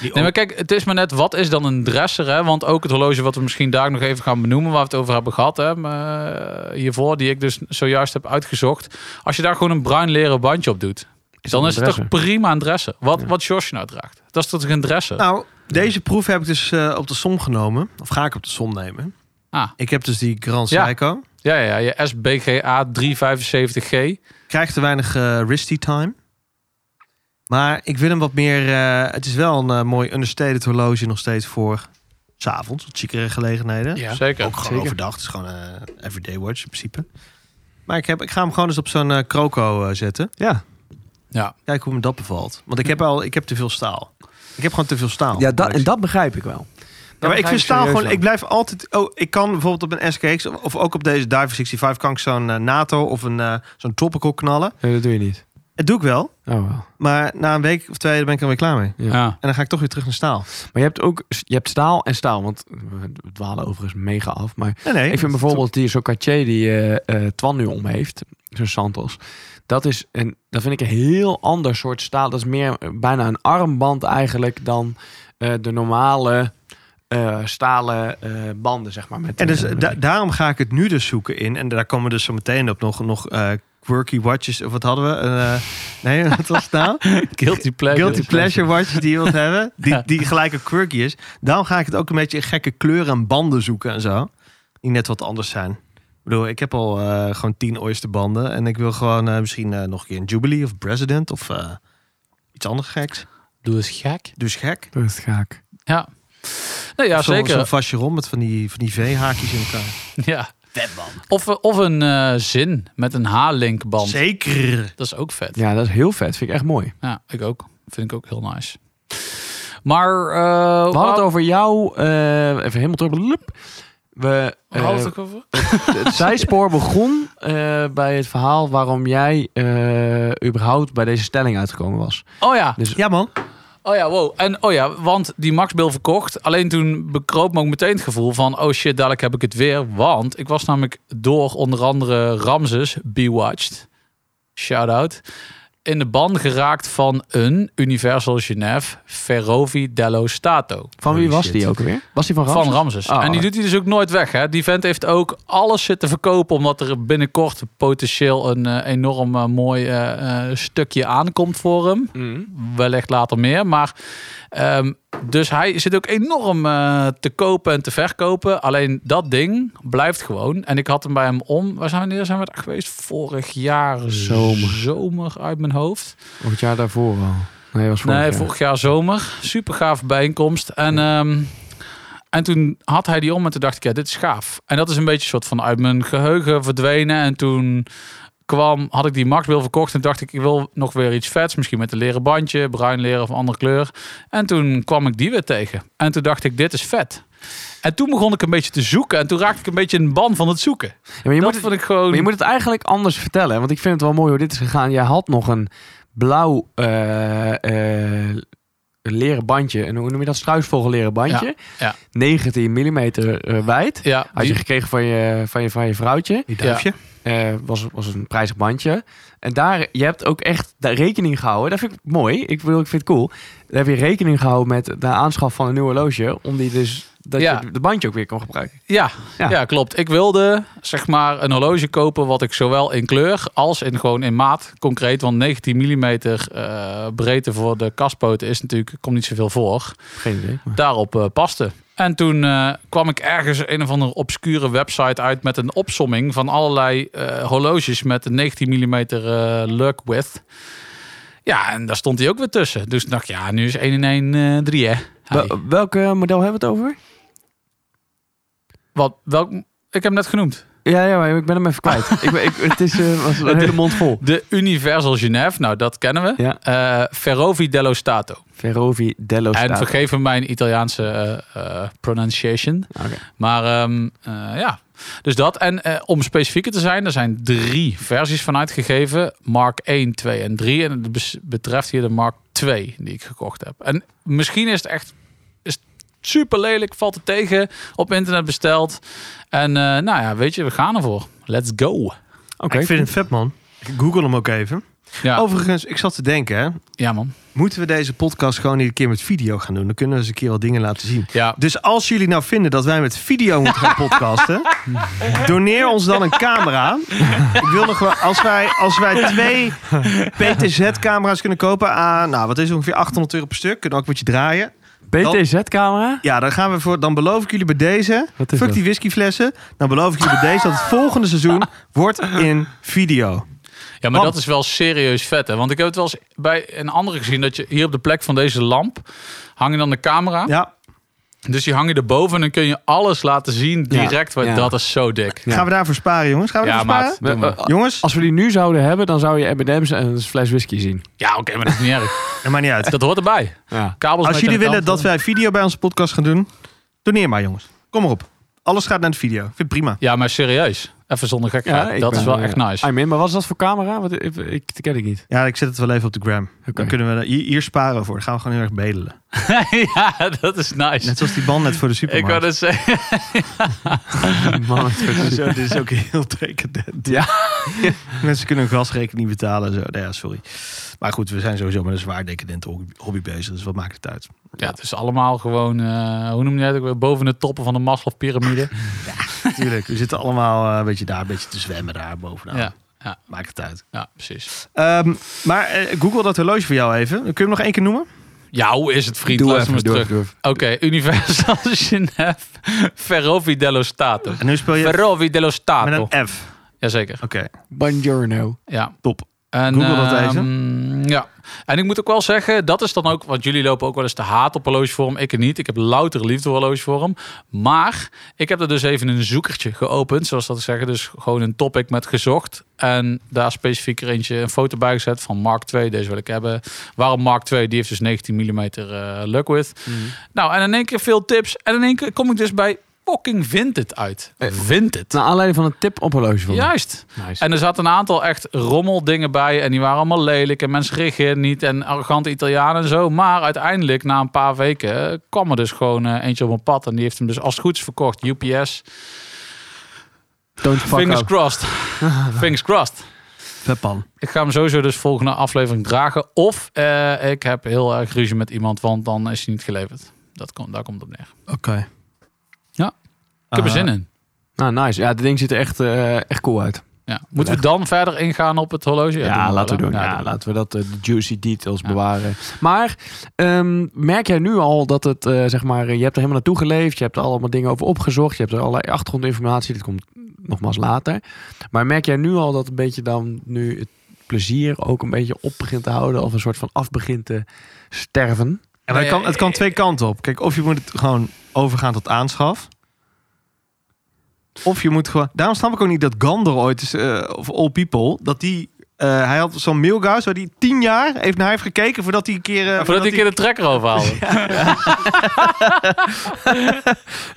D: Die
B: Nee, maar kijk, het is maar net, wat is dan een dresser? Hè? Want ook het horloge wat we misschien daar nog even gaan benoemen, waar we het over hebben gehad hè, maar, eh, hiervoor, die ik dus zojuist heb uitgezocht. Als je daar gewoon een bruin leren bandje op doet, dan
C: een
B: is het toch
C: dresser?
B: prima een dresser. Wat, wat Josh nou draagt, dat is toch een dresser?
D: Nou, deze proef heb ik dus eh, op de som genomen. Of ga ik op de som nemen.
B: Ah.
D: Ik heb dus die Grand
B: Ja.
D: Seiko.
B: Ja, ja, ja, je SBGA 375G.
D: Krijg te weinig eh wristy time. Maar ik wil hem wat meer... eh, het is wel een eh, mooi understated horloge nog steeds voor... S'avonds, wat chiekere gelegenheden.
B: Zeker.
D: Ook gewoon
C: zeker.
D: overdag. Het is gewoon een everyday watch in principe. Maar ik, heb, ik ga hem gewoon eens op zo'n eh, croco eh, zetten.
C: Ja.
B: Ja.
D: Kijken hoe me dat bevalt. Want ik heb al, ik heb te veel staal. Ik heb gewoon te veel staal.
C: ja, dat, en dat begrijp ik wel.
D: Ja, maar ik
C: begrijp
D: vind
C: ik
D: staal
C: serieus
D: gewoon,
C: wel.
D: ik blijf altijd. Oh, ik kan bijvoorbeeld op een SKX of, of ook op deze Diver 65 kan ik zo'n eh, NATO of een eh, zo'n tropical knallen.
C: Nee, dat doe je niet.
D: Dat doe ik wel,
C: Oh, wel.
D: maar na een week of twee ben ik er weer klaar mee.
C: Ja.
B: Ja.
D: En dan ga ik toch weer terug naar staal.
C: Maar je hebt ook je hebt staal en staal. Want we we dwalen overigens mega af. Maar
D: Nee, nee.
C: ik vind bijvoorbeeld die zo'n Cartier die eh, eh, Twan nu om heeft. Zo'n Santos. Dat, is een, dat vind ik een heel ander soort staal. Dat is meer eh, bijna een armband eigenlijk dan eh, de normale eh, stalen eh, banden, zeg maar. Met,
D: En dus
C: eh, met-
D: da- daarom ga ik het nu dus zoeken in. En daar komen we dus zo meteen op nog, nog eh, quirky watches. Of wat hadden we? Een, eh, nee, wat was het nou?
B: Guilty pleasure.
D: Guilty pleasure watches die iemand hebben. Die, die gelijk een quirky is. Daarom ga ik het ook een beetje in gekke kleuren en banden zoeken en zo. Die net wat anders zijn. Ik bedoel, ik heb al eh, gewoon tien oysterbanden. En ik wil gewoon eh, misschien eh, nog een keer een Jubilee of President of eh, iets anders geks.
B: Doe eens gek.
D: Dus gek.
C: Dat is gaak.
B: Ja. Nee, ja,
D: Of zo'n- Zo'n
B: zeker.
D: vastje rond met van die, van die V-haakjes in elkaar.
B: Ja.
D: Vet man.
B: Of, of een eh, zin met een H-linkband.
D: Zeker.
B: Dat is ook vet.
C: Ja, dat is heel vet. Vind ik echt mooi.
B: Ja, ik ook. Vind ik ook heel nice. Maar eh,
C: We hadden het over jou. eh, even helemaal terug. Lup. We,
B: waar hadden we
C: eh,
B: het ook over?
C: het zijspoor begon eh, bij het verhaal waarom jij eh, überhaupt bij deze stelling uitgekomen was.
B: Oh ja.
C: Dus
D: Ja man.
B: Oh ja, wow. En oh ja, want die Max Bill verkocht. Alleen toen bekroop me ook meteen het gevoel van... oh shit, dadelijk heb ik het weer. Want ik was namelijk door onder andere Ramses, Be Watched... shout-out... in de ban geraakt van een Universal Genève Ferrovi dello Stato.
C: van wie
D: Holy
C: was
D: shit.
C: die ook alweer? Was die van Ramses?
B: Van Ramses.
C: Ah.
B: en die doet hij dus ook nooit weg. Hè? Die vent heeft ook alles zitten verkopen. Omdat er binnenkort potentieel een eh, enorm eh, mooi eh, eh, stukje aankomt voor hem.
C: Mm.
B: Wellicht later meer. Maar ehm, dus hij zit ook enorm eh, te kopen en te verkopen. Alleen dat ding blijft gewoon. En ik had hem bij hem om. Waar zijn we, wanneer zijn we daar geweest? Vorig jaar
C: Zomer.
B: zomer uit mijn hoofd.
C: Of het jaar daarvoor al. Nee, was vorig
B: Nee,
C: jaar.
B: vorig jaar zomer. Super gaaf bijeenkomst. En, ehm, en toen had hij die om en toen dacht ik, ja, dit is gaaf. En dat is een beetje een soort van uit mijn geheugen verdwenen. En toen kwam, had ik die Max Bill verkocht en dacht ik, ik wil nog weer iets vets. Misschien met een leren bandje, bruin leren of andere kleur. En toen kwam ik die weer tegen. En toen dacht ik, dit is vet. En toen begon ik een beetje te zoeken. En toen raakte ik een beetje in de ban van het zoeken.
C: Ja, maar je,
B: dat
C: moet het,
B: vond ik gewoon...
C: maar je moet het eigenlijk anders vertellen. hè, Want ik vind het wel mooi hoe dit is gegaan. Jij had nog een blauw eh, eh, leren bandje. En hoe noem je dat? Struisvogel leren bandje.
B: ja.
C: 19 mm wijd.
B: Ja,
C: Had je
B: die-
C: gekregen van je, van je, van je vrouwtje.
D: Die
B: Ja.
D: duifje.
C: Eh, was, was een prijzig bandje. En daar, je hebt ook echt daar rekening gehouden. Dat vind ik mooi. Ik, bedoel, ik vind het cool. Daar heb je rekening gehouden met de aanschaf van een nieuw horloge. Om die dus, dat
B: Ja.
C: je de bandje ook weer kon gebruiken.
B: Ja, ja.
C: Ja.
B: klopt. Ik wilde zeg maar een horloge kopen wat ik zowel in kleur als in gewoon in maat concreet, want 19 mm breedte voor de kastpoten is natuurlijk komt niet zoveel voor.
C: Geen idee. maar-
B: Daarop eh, paste. En toen eh, kwam ik ergens een of andere obscure website uit met een opsomming van allerlei eh, horloges met een 19 mm eh lug width. Ja, en daar stond hij ook weer tussen. Dus toen dacht ik, ja, nu is 1 in 1 eh 3, hè? Hey.
C: Wel- welk eh, model hebben we het over?
B: Wat, welk, ik heb hem net genoemd.
C: Ja, ja, maar ik ben hem even kwijt. ik, ben- ik, het is, eh, was een hele mond vol.
B: De Universal Genève, nou dat kennen we.
C: Ja.
B: Eh, Ferrovi dello Stato.
C: Ferrovi Dello
B: En
C: Stato.
B: vergeef me mijn Italiaanse eh, eh, pronunciation.
C: Oké.
B: Maar ehm, eh, ja, dus dat. En eh, om specifieker te zijn, er zijn drie versies van uitgegeven. Mark 1, 2 en 3. En het bes- betreft hier de Mark 2 die ik gekocht heb. En misschien is het echt is super lelijk, valt het tegen, op internet besteld. En eh, nou ja, weet je, we gaan ervoor. Let's go.
C: Oké.
D: Ik vind het vet, man. Ik Google hem ook even.
B: Ja,
D: Overigens, ik zat te denken, hè.
B: ja man.
D: Moeten we deze podcast gewoon iedere keer met video gaan doen? Dan kunnen we eens een keer wat dingen laten zien.
B: Ja,
D: Dus als jullie nou vinden dat wij met video moeten gaan podcasten, doneer ons dan een camera. Ik wil nog wel, als wij, als wij twee PTZ-camera's kunnen kopen aan, nou wat is het, ongeveer 800 euro per stuk, kunnen we ook met je draaien.
C: BTZ-camera?
D: Ja, dan gaan we voor, dan beloof ik jullie bij deze,
C: Wat is
D: fuck
C: dat?
D: die whiskyflessen, dan beloof ik jullie bij deze dat het volgende seizoen wordt in video.
B: Ja, maar
D: Want-
B: dat is wel serieus vet, hè? Want ik heb het wel eens bij een andere gezien dat je hier op de plek van deze lamp hang je dan de camera.
D: Ja,
B: Dus die hang je erboven en dan kun je alles laten zien direct.
C: Ja.
B: want Dat is zo dik.
C: Ja.
D: gaan we daarvoor sparen, jongens? Gaan we
B: Ja,
D: daarvoor
B: maat.
D: sparen?
B: Doe maar.
D: Jongens,
C: Als we die nu zouden hebben, dan zou je M&M's en een fles whisky zien.
B: Ja, oké, maar dat is niet erg.
D: dat maakt niet uit.
B: Dat hoort erbij.
C: Ja.
B: Kabels
D: Eh,
B: met
D: Als jullie
B: aan de
D: willen
B: kant.
D: dat wij video bij onze podcast gaan doen, doneer maar jongens. Kom maar op. Alles gaat naar de video. Ik vind het prima.
B: Ja, maar serieus. Even zonder gekheid.
C: ik
B: dat
C: ben,
B: is wel
C: eh,
B: echt nice.
C: I'm in, maar wat is dat voor camera? Wat, ik, ik, dat ken ik niet.
D: Ja, ik zet het wel even op de gram.
C: Oké.
D: Dan kunnen we hier, hier sparen we voor. Dan gaan we gewoon heel erg bedelen.
B: ja, dat is nice.
D: Net zoals die band net voor de
B: ik wou
D: supermarkt.
B: het zeggen.
C: Man, het wordt
D: Zo,
C: zo-
D: dit is ook heel decadent.
C: Ja.
D: Mensen kunnen hun gasrekening niet betalen. Zo. Nou ja, sorry. Maar goed, we zijn sowieso met een zwaar decadente hobby- hobby bezig. Dus wat maakt het uit?
B: Ja, het is allemaal gewoon, eh, hoe noem je dat ook weer? Boven de toppen van de Maslow-pyramide.
D: Tuurlijk, we zitten allemaal eh, een beetje daar, een beetje te zwemmen daar bovenaan.
B: Ja. Ja.
D: Maakt het uit.
B: ja, precies.
D: Ehm, maar eh, Google dat horloge voor jou even. Kun je hem nog één keer noemen?
B: Ja, hoe is het, vriend? Luister maar eens terug. Oké, Universal Genève, Ferrovi dello Stato.
D: En nu speel je
B: Ferrovi dello Stato.
D: met een F.
B: Jazeker,
D: Oké.
C: Buongiorno.
B: ja.
D: Top.
B: En,
D: Google dat
B: ehm, ja, en ik moet ook wel zeggen, dat is dan ook, want jullie lopen ook wel eens te haat op horlogevorm. Ik niet, ik heb louter liefde voor horlogevorm. Maar ik heb er dus even een zoekertje geopend, zoals dat ik zeg. Dus gewoon een topic met gezocht. En daar specifiek er eentje een foto bij gezet van Mark 2. Deze wil ik hebben. Waarom Mark 2? Die heeft dus 19 mm eh lug width. Nou, en in één keer veel tips. En in één keer kom ik dus bij fucking Vinted uit.
C: Eh,
B: Vinted.
C: Naar aanleiding van een tip op horloge voor
B: Juist.
C: Nice.
B: En er zaten een aantal echt rommeldingen bij. En die waren allemaal lelijk. En mensen reageerden niet. En arrogante Italianen en zo. Maar uiteindelijk, na een paar weken, eh, kwam er dus gewoon eh, eentje op mijn pad. En die heeft hem dus als het goed is verkocht. UPS.
C: Don't fuck
B: Fingers
C: up.
B: crossed. Fingers crossed.
D: Vepan.
B: Ik ga hem sowieso dus volgende aflevering dragen. Of eh, ik heb heel erg ruzie met iemand, want dan is hij niet geleverd. Dat komt, daar komt het op neer.
D: Oké.
B: Ja. Ik
C: Ah.
B: heb er zin in.
C: Nou, nice. Ja, dit ding ziet er echt, eh, echt cool uit.
B: Ja. Moeten we dan verder ingaan op het horloge?
C: Ja,
B: doen wel,
C: laten we
B: hè?
C: doen. Ja,
B: doen we.
C: laten we dat, eh, de juicy details bewaren. Maar ehm, merk jij nu al dat het, eh, zeg maar, eh, je hebt er helemaal naartoe geleefd. Je hebt er allemaal dingen over opgezocht. Je hebt er allerlei achtergrondinformatie. Dat komt nogmaals later. Maar merk jij nu al dat een beetje dan nu het plezier ook een beetje op begint te houden? Of een soort van af begint te sterven?
D: En Ah. maar het,
B: Nee,
D: kan, het kan twee kanten op. Kijk, of je moet het gewoon overgaan tot aanschaf. Of je moet gewoon... Daarom snap ik ook niet dat Gander ooit is... eh, of All People, dat die... eh, hij had zo'n mailguis waar hij tien jaar heeft naar heeft gekeken voordat hij een keer... eh,
B: Voordat ik een keer de trekker overhaal.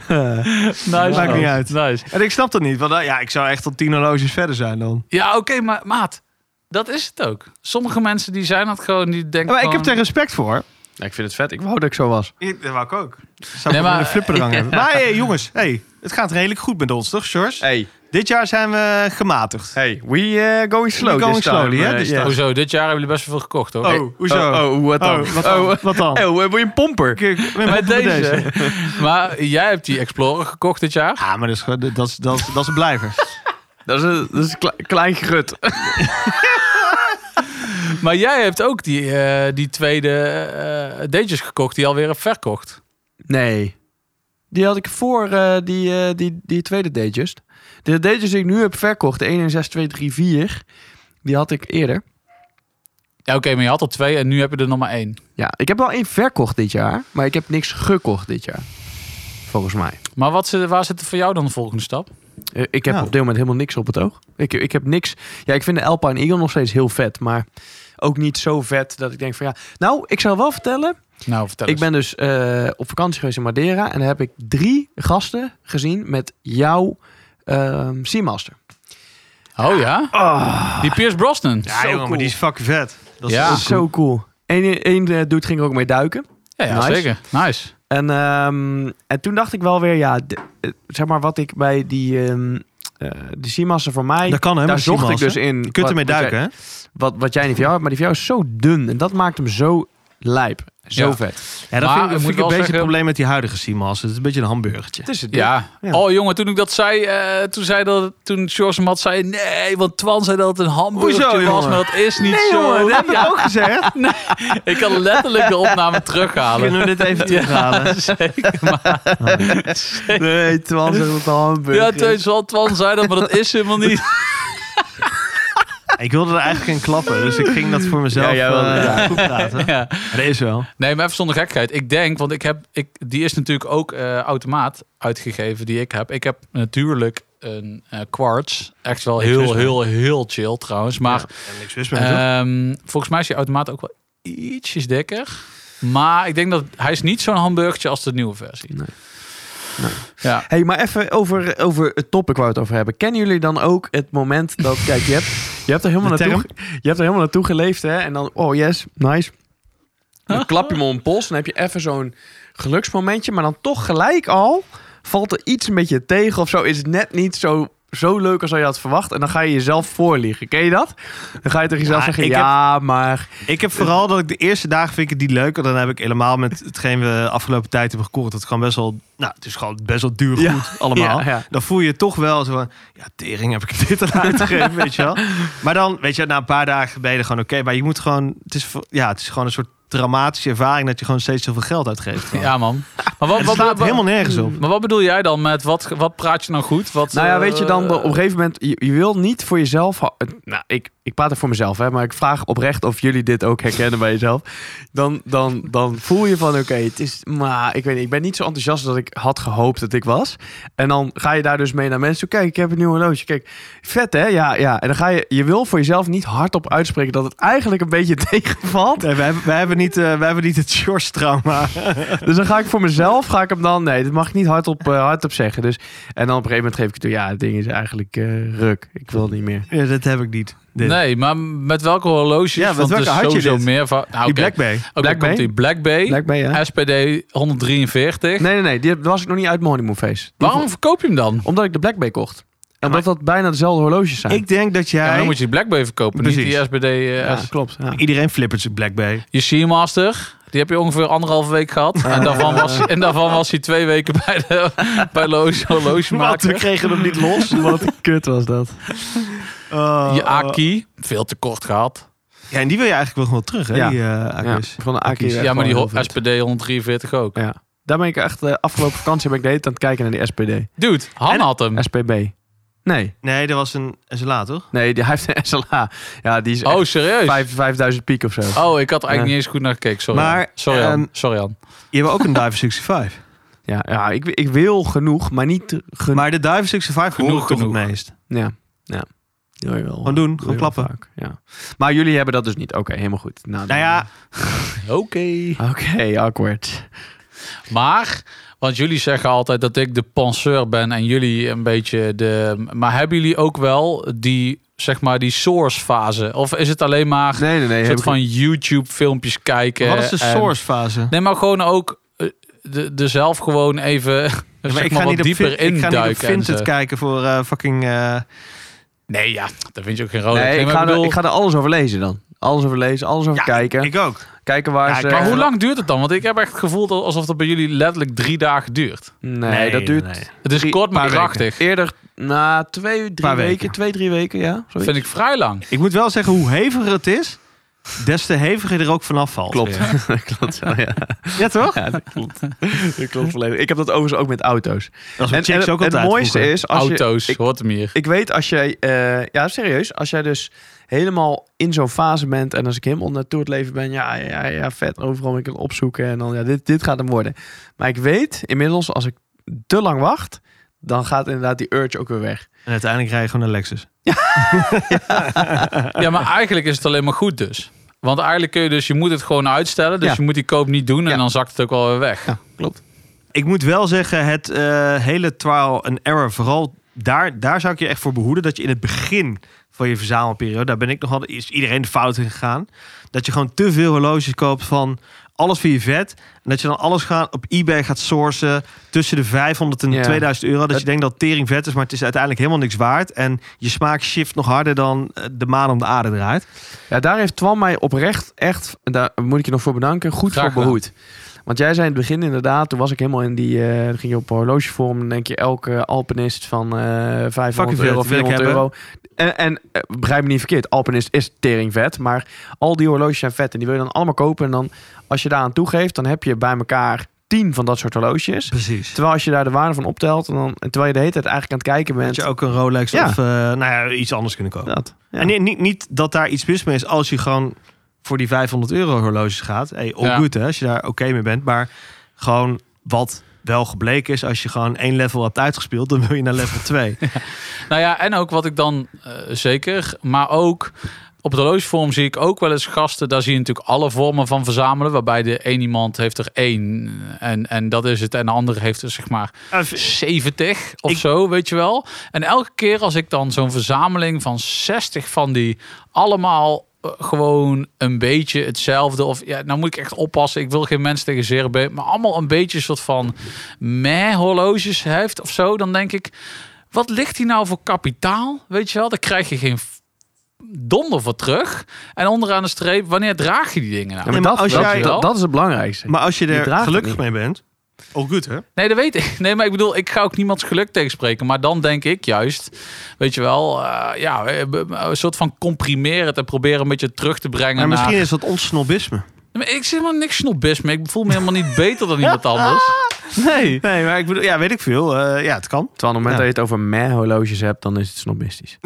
B: nice.
D: Maakt niet
B: man.
D: uit.
B: Nice.
D: En ik snap dat niet. Want eh, ja, ik zou echt tot tien horloges verder zijn dan.
B: Ja, oké, maar maat. Dat is het ook. Sommige mensen die zijn dat gewoon, die denken
D: Maar ik heb
B: gewoon-
D: er respect voor.
C: ik vind het vet. Ik wou dat ik zo was.
D: Ik- Dat wou ik ook. Zou
B: Nee,
D: ik
B: maar-
D: maar, een flipperdrang hebben. Maar hey, jongens, hey, het gaat redelijk goed met ons, toch, George?
F: Hey,
D: Dit jaar zijn we gematigd.
F: hey, we eh, going slow.
D: We going
F: this time,
D: slowly, hè,
F: eh,
D: this
F: yeah.
D: time.
B: Hoezo, dit jaar hebben jullie best wel veel gekocht, hoor.
D: Oh, hoezo?
F: Oh, oh, wat dan?
D: Oh, wat dan?
F: Oh,
D: wat dan?
F: eh, oh, eh, wil je een pomper?
D: Kijk, we hebben
B: Met
D: het over
B: deze. maar jij hebt die Explorer gekocht dit jaar.
D: Ja, Ah, maar dat is, gewoon- dat, is, dat, is, dat is een blijver.
F: Dat is een, dat is een kle- klein gerut.
B: Maar jij hebt ook die, eh, die tweede eh, Datejust gekocht die alweer hebt verkocht.
C: Nee. Die had ik voor eh, die, eh, die, die tweede Datejust. De Datejust die ik nu heb verkocht, de 116234, die had ik eerder.
B: Ja, oké, maar je had er twee en nu heb je er nog maar één.
C: Ja, ik heb wel één verkocht dit jaar, maar ik heb niks gekocht dit jaar. Volgens mij.
B: Maar wat, zit- waar zit er voor jou dan de volgende stap?
C: Eh, Ik heb
D: Nou.
C: op dit moment helemaal niks op het oog. Ik, ik heb niks. Ja, ik vind de Alpine Eagle nog steeds heel vet, maar ook niet zo vet dat ik denk van ja. Nou, ik zou wel vertellen.
B: Nou, vertel
C: Ik ben dus eh, op vakantie geweest in Madeira en daar heb ik drie gasten gezien met jouw ehm, Seamaster.
B: eens. Oh ja? Die Piers Brosnan.
D: Ah. Ja, jongen, maar die is fucking vet. Dat
B: Ja.
D: is,
C: Zo cool. Eén, één eh, dude ging er ook mee duiken.
B: Ja, ja,
C: nice.
B: zeker. Nice.
C: En, ehm, en toen dacht ik wel weer, ja, de- eh, zeg maar wat ik bij die, ehm eh de Seamaster voor mij...
D: Dat kan, hè,
C: Daar
D: met
C: zocht ik
D: Seamaster.
C: dus in.
D: je kunt ermee duiken, hè?
C: wat, wat jij niet van jou hebt, maar die van jou is zo dun. En dat maakt hem zo lijp. Zo
B: Ja.
C: vet.
D: Ja, dat
B: Maar
D: vind,
B: ik moet
D: ik- vind
B: wel
D: ik een beetje
B: zeggen-
D: het probleem met die huidige Seamaster. Het is een beetje een hamburgertje.
C: Het is het.
B: Ja.
D: Ja.
B: Oh jongen, toen ik dat zei, eh, toen zei dat, toen George hem had, zei nee, want Twan zei dat het een hamburgertje
D: Hoezo,
B: was,
D: jongen?
B: maar dat is niet
D: Nee,
B: zo.
D: jongen, dat heb ik ook gezegd.
B: Ik kan letterlijk de opname terughalen.
D: Kunnen we dit even terughalen? Oh,
C: Nee, Twan zegt het al hamburger.
B: Ja, Teun zal Twan zei dat, maar dat is helemaal niet.
D: Ik wilde er eigenlijk geen klappen, dus ik ging dat voor mezelf
C: Ja, jij wilde-
D: eh, goed praten.
B: Ja.
D: Dat is wel.
B: Nee, maar even zonder gekheid. Ik denk, want ik heb, ik, die is natuurlijk ook eh, automaat uitgegeven die ik heb. Ik heb natuurlijk een eh, Quartz. Echt wel
D: Niks mis
B: heel,
D: mee.
B: heel, heel chill trouwens. Maar
D: niks mis
B: ehm, volgens mij is die automaat ook wel ietsjes dikker. Maar ik denk dat hij is niet zo'n hamburgertje als de nieuwe versie.
C: Nee.
B: Ja.
C: Hey, maar even over, over het topic waar we het over hebben. Kennen jullie dan ook het moment dat... Kijk, je hebt, je hebt, er, helemaal
D: De
C: naartoe, je hebt er helemaal naartoe geleefd, hè. En dan, oh yes, nice. Dan klap je hem om een pols. Dan heb je even zo'n geluksmomentje. Maar dan toch gelijk al valt er iets een beetje tegen of zo. Is het net niet zo... Zo leuk als je had verwacht. En dan ga je jezelf voorliegen. Ken je dat? Dan ga je tegen jezelf
D: Ja,
C: zeggen:
D: ik heb-
C: Ja, maar.
D: Ik heb vooral dat ik de eerste dagen vind ik het niet leuk. En dan heb ik helemaal met hetgeen we de afgelopen tijd hebben gekocht. Dat het gewoon best wel, nou, het is gewoon best wel duur goed
C: Ja,
D: allemaal.
C: ja, ja.
D: Dan voel je toch wel zo van, ja, tering heb ik dit aan uitgegeven, weet je wel. Maar dan, weet je, na een paar dagen ben je er gewoon oké. maar je moet gewoon, het is, voor- ja, het is gewoon een soort dramatische ervaring dat je gewoon steeds zoveel geld uitgeeft. Ja,
B: ja, man. Maar wat,
D: Oh. het
B: wat,
D: slaat
B: wat-
D: helemaal nergens op.
B: maar wat bedoel jij dan met wat, wat praat je nou goed? Wat,
C: Nou ja,
B: eh,
C: weet je dan,
D: Oh,
C: op een gegeven moment, je, je wil niet voor jezelf. hou- eh, Nou, ik, ik praat er voor mezelf, hè, maar ik vraag oprecht of jullie dit ook herkennen bij jezelf. Dan, dan, dan voel je van, oké, het is, maar ik weet niet, ik ben niet zo enthousiast als ik had gehoopt dat ik was. En dan ga je daar dus mee naar mensen toe. Kijk, ik heb een nieuw horloge. Kijk, vet hè? Ja, ja. En dan ga je, je wil voor jezelf niet hardop uitspreken dat het eigenlijk een beetje tegenvalt.
D: Nee, wij, hebben- wij, hebben niet, eh, wij hebben niet het George-trauma.
C: Dus dan ga ik voor mezelf, ga ik hem dan... Nee, dat mag ik niet hardop, eh, hardop zeggen. Dus, en dan op een gegeven moment geef ik het toe. Ja, het ding is eigenlijk eh, ruk. Ik wil het niet meer.
D: Ja, dat heb ik niet. Dit.
B: Nee, maar met welke horloges?
D: Ja, met
B: Want
D: welke
B: er is
D: had je
B: sowieso
D: dit?
B: meer van. Nou,
D: Die
B: oké.
D: Blackberry.
B: Oké, komt
C: Black Bay?
B: die Black Bay,
C: Lijkt mij, hè?
B: SPD 143.
C: Nee, nee, nee. Die was ik nog niet uit mijn honeymoon face. Die
B: Waarom
C: vond-
B: verkoop je hem dan?
C: Omdat ik de Black Bay kocht. Omdat dat bijna dezelfde horloges zijn.
D: Ik denk dat
B: Ja,
D: jij...
B: dan moet je die Black Bay verkopen, niet
D: Precies.
B: die SPD. eh,
C: ja,
B: S-
C: klopt. Ja.
D: Iedereen flippert zijn Blackberry.
B: Je Seamaster, die heb je ongeveer anderhalve week gehad. En daarvan was, en daarvan was hij twee weken bij de bij horloge,
D: we
B: horlogemaker.
D: kregen hem niet los. Oh.
C: Wat een kut was dat.
B: Je Aki, veel te kort gehad.
D: Ja, en die wil je eigenlijk wel gewoon terug, hè?
C: Ja.
D: Die, eh,
C: Ja,
D: Akis.
C: van de Aki.
B: Ja, maar die ho- SPD 143 ook.
C: Ja. Daar ben ik echt... eh, afgelopen vakantie ben ik de hele tijd aan het kijken naar die SPD.
B: Dude, Han
D: En-
B: had hem.
C: SPB. Nee.
D: Nee, dat was een SLA, toch?
C: Nee, die, hij heeft een SLA. Ja, die is
B: Oh,
C: echt
B: serieus?
C: vijf- 5000 piek of zo.
B: Oh, ik had er eigenlijk
C: Ja.
B: niet eens goed naar gekeken. Sorry,
D: Maar,
B: Han. sorry, Han.
D: ehm,
B: sorry Han.
D: Je hebt ook een Diver 65.
C: Ja, ja ik, ik wil genoeg, maar niet genoeg.
D: Maar de Diver 65
B: Genoeg,
D: genoeg, genoeg.
B: genoeg.
D: het meest.
C: Ja, ja. Wil je wel,
D: Gewoon doen,
C: wil
D: gewoon
C: je wel
D: klappen.
C: vaak, ja. Maar jullie hebben dat dus niet. Oké, helemaal goed.
D: Nou ja,
B: Oké.
C: Oké, awkward.
B: Maar, want jullie zeggen altijd dat ik de penseur ben en jullie een beetje de. Maar hebben jullie ook wel die, zeg maar, die source fase? Of is het alleen maar
C: Nee, nee, nee.
B: een
C: heb
B: soort
C: ik-
B: van YouTube filmpjes kijken?
D: wat is de
B: en-
D: source fase?
B: ehm, Nee, maar gewoon ook eh, de, de zelf gewoon even. Zeg maar
D: ik ga,
B: wat
D: niet op,
B: dieper
D: Vin- ik ga niet op
B: induiken. en
D: Vinted
B: zo.
D: kijken voor eh, fucking... eh,
B: nee, ja, daar vind je ook geen rode.
C: Nee, ik
B: maar
C: ga,
B: bedoel-
C: er, ik ga er alles over lezen dan. Alles over lezen, alles over
D: ja,
C: kijken.
D: Ik ook.
C: Kijken waar
D: Ja,
C: ze...
D: ik-
B: maar hoe lang duurt het dan? Want ik heb echt het gevoel dat- alsof dat bij jullie letterlijk drie dagen duurt.
C: Nee, dat duurt
D: nee.
B: Het is
C: Drie-
B: kort, maar
C: paar weken.
B: krachtig.
C: eerder na twee, drie
D: Paar
C: weken.
D: weken.
C: Twee, drie weken, ja. Zoiets.
B: Vind ik vrij lang.
D: Ik moet wel zeggen hoe heviger het is. des te heviger er ook vanaf valt.
C: Klopt. klopt wel, ja.
D: Ja, toch?
C: ja, dat klopt. Dat klopt volledig. Ik heb dat overigens ook met auto's.
D: Dat is wat chicks
C: het-
D: ook
C: het
D: altijd
C: mooiste
D: vroeger.
C: is... Als je,
B: Auto's,
C: ik-
B: hoort hem hier.
C: Ik weet als jij, eh, ja serieus, als jij dus helemaal in zo'n fase bent en als ik helemaal naartoe het leven ben, ja, ja, ja, vet, overal wat ik kan opzoeken en dan, ja, dit, dit gaat hem worden. Maar ik weet inmiddels, als ik te lang wacht, dan gaat inderdaad die urge ook weer weg.
D: En uiteindelijk rij je gewoon een Lexus.
B: Ja, maar eigenlijk is het alleen maar goed dus. Want eigenlijk kun je dus, je moet het gewoon uitstellen. Dus
C: Ja.
B: je moet die koop niet doen en
C: Ja.
B: dan zakt het ook wel weer weg.
D: Ik moet wel zeggen, het eh, hele trial and error, vooral daar, daar zou ik je echt voor behoeden. Dat je in het begin van je verzamelperiode, daar ben ik nogal, is iedereen de fout in gegaan. Dat je gewoon te veel horloges koopt van alles via je vet. En dat je dan alles gaat, op eBay gaat sourcen tussen de 500 en
C: Ja.
D: 2000 euro. Dat
C: Het-
D: je denkt dat tering vet is, maar het is uiteindelijk helemaal niks waard. En je smaak shift nog harder dan eh, de maan om de aarde draait.
C: Ja, daar heeft Twan mij oprecht echt, daar moet ik je nog voor bedanken, goed
B: Graag
C: voor
B: gedaan.
C: behoed. Want jij zei in het begin inderdaad, toen was ik helemaal in die, eh, dan ging je op horlogevorm, dan denk je elke Alpenist van eh 500
D: Fucking vet,
C: euro,
D: wil ik
C: 400 euro. En, en eh, begrijp me niet verkeerd, Alpenist is tering vet, maar al die horloges zijn vet en die wil je dan allemaal kopen. En dan, als je daaraan toegeeft, dan heb je bij elkaar 10 van dat soort horloges.
D: Precies.
C: Terwijl als je daar de waarde van optelt, en dan, en terwijl je de hele tijd eigenlijk aan het kijken
D: Dat
C: bent.
D: je ook een Rolex
C: Ja.
D: of eh, nou ja, iets anders kunnen kopen.
C: Dat, ja.
D: En niet, niet, niet dat daar iets mis mee is als je gewoon voor die 500 euro horloges gaat. Hey, all
B: Ja.
D: good hè, als je daar oké mee bent. Maar gewoon wat wel gebleken is, als je gewoon één level hebt uitgespeeld, dan wil je naar level 2.
B: Nou ja, en ook wat ik dan eh, zeker, maar ook op de horlogevorm zie ik ook wel eens gasten. Daar zie je natuurlijk alle vormen van verzamelen, waarbij de een iemand heeft er één eh, en, en dat is het, en de andere heeft er zeg maar 70 of
D: Ik-
B: zo, weet je wel. En elke keer als ik dan zo'n verzameling van 60 van die allemaal eh, gewoon een beetje hetzelfde of ja, nou moet ik echt oppassen. Ik wil geen mensen tegen zere been, maar allemaal een beetje een soort van meh horloges heeft of zo, dan denk ik wat ligt hier nou voor kapitaal? Weet je wel, daar krijg je geen f- donder voor terug. En onderaan de streep, wanneer draag je die dingen nou?
C: Ja,
D: Nee,
C: maar
D: maar
C: dat,
D: als
C: dat,
D: jij-
C: dat, dat is het belangrijkste.
D: maar als je
C: Je
D: er
C: draagt het
D: gelukkig
C: niet.
D: mee bent, all good hè?
B: Nee, dat weet ik. Nee, maar ik bedoel, ik ga ook niemands geluk tegenspreken. Maar dan denk ik juist, weet je wel, eh, ja, eh, be- een soort van comprimeren het en proberen een beetje terug te brengen.
D: Maar misschien
B: naar-
D: is dat ons snobisme.
B: Nee, maar Ik zeg helemaal niks snobisme. Ik voel me helemaal niet beter dan iemand anders.
D: Nee. Nee, maar ik bedoel, ja, weet ik veel. Eh, ja, het kan.
C: Terwijl op het moment
D: Ja.
C: dat je het over meh horloges hebt, dan is het snobistisch.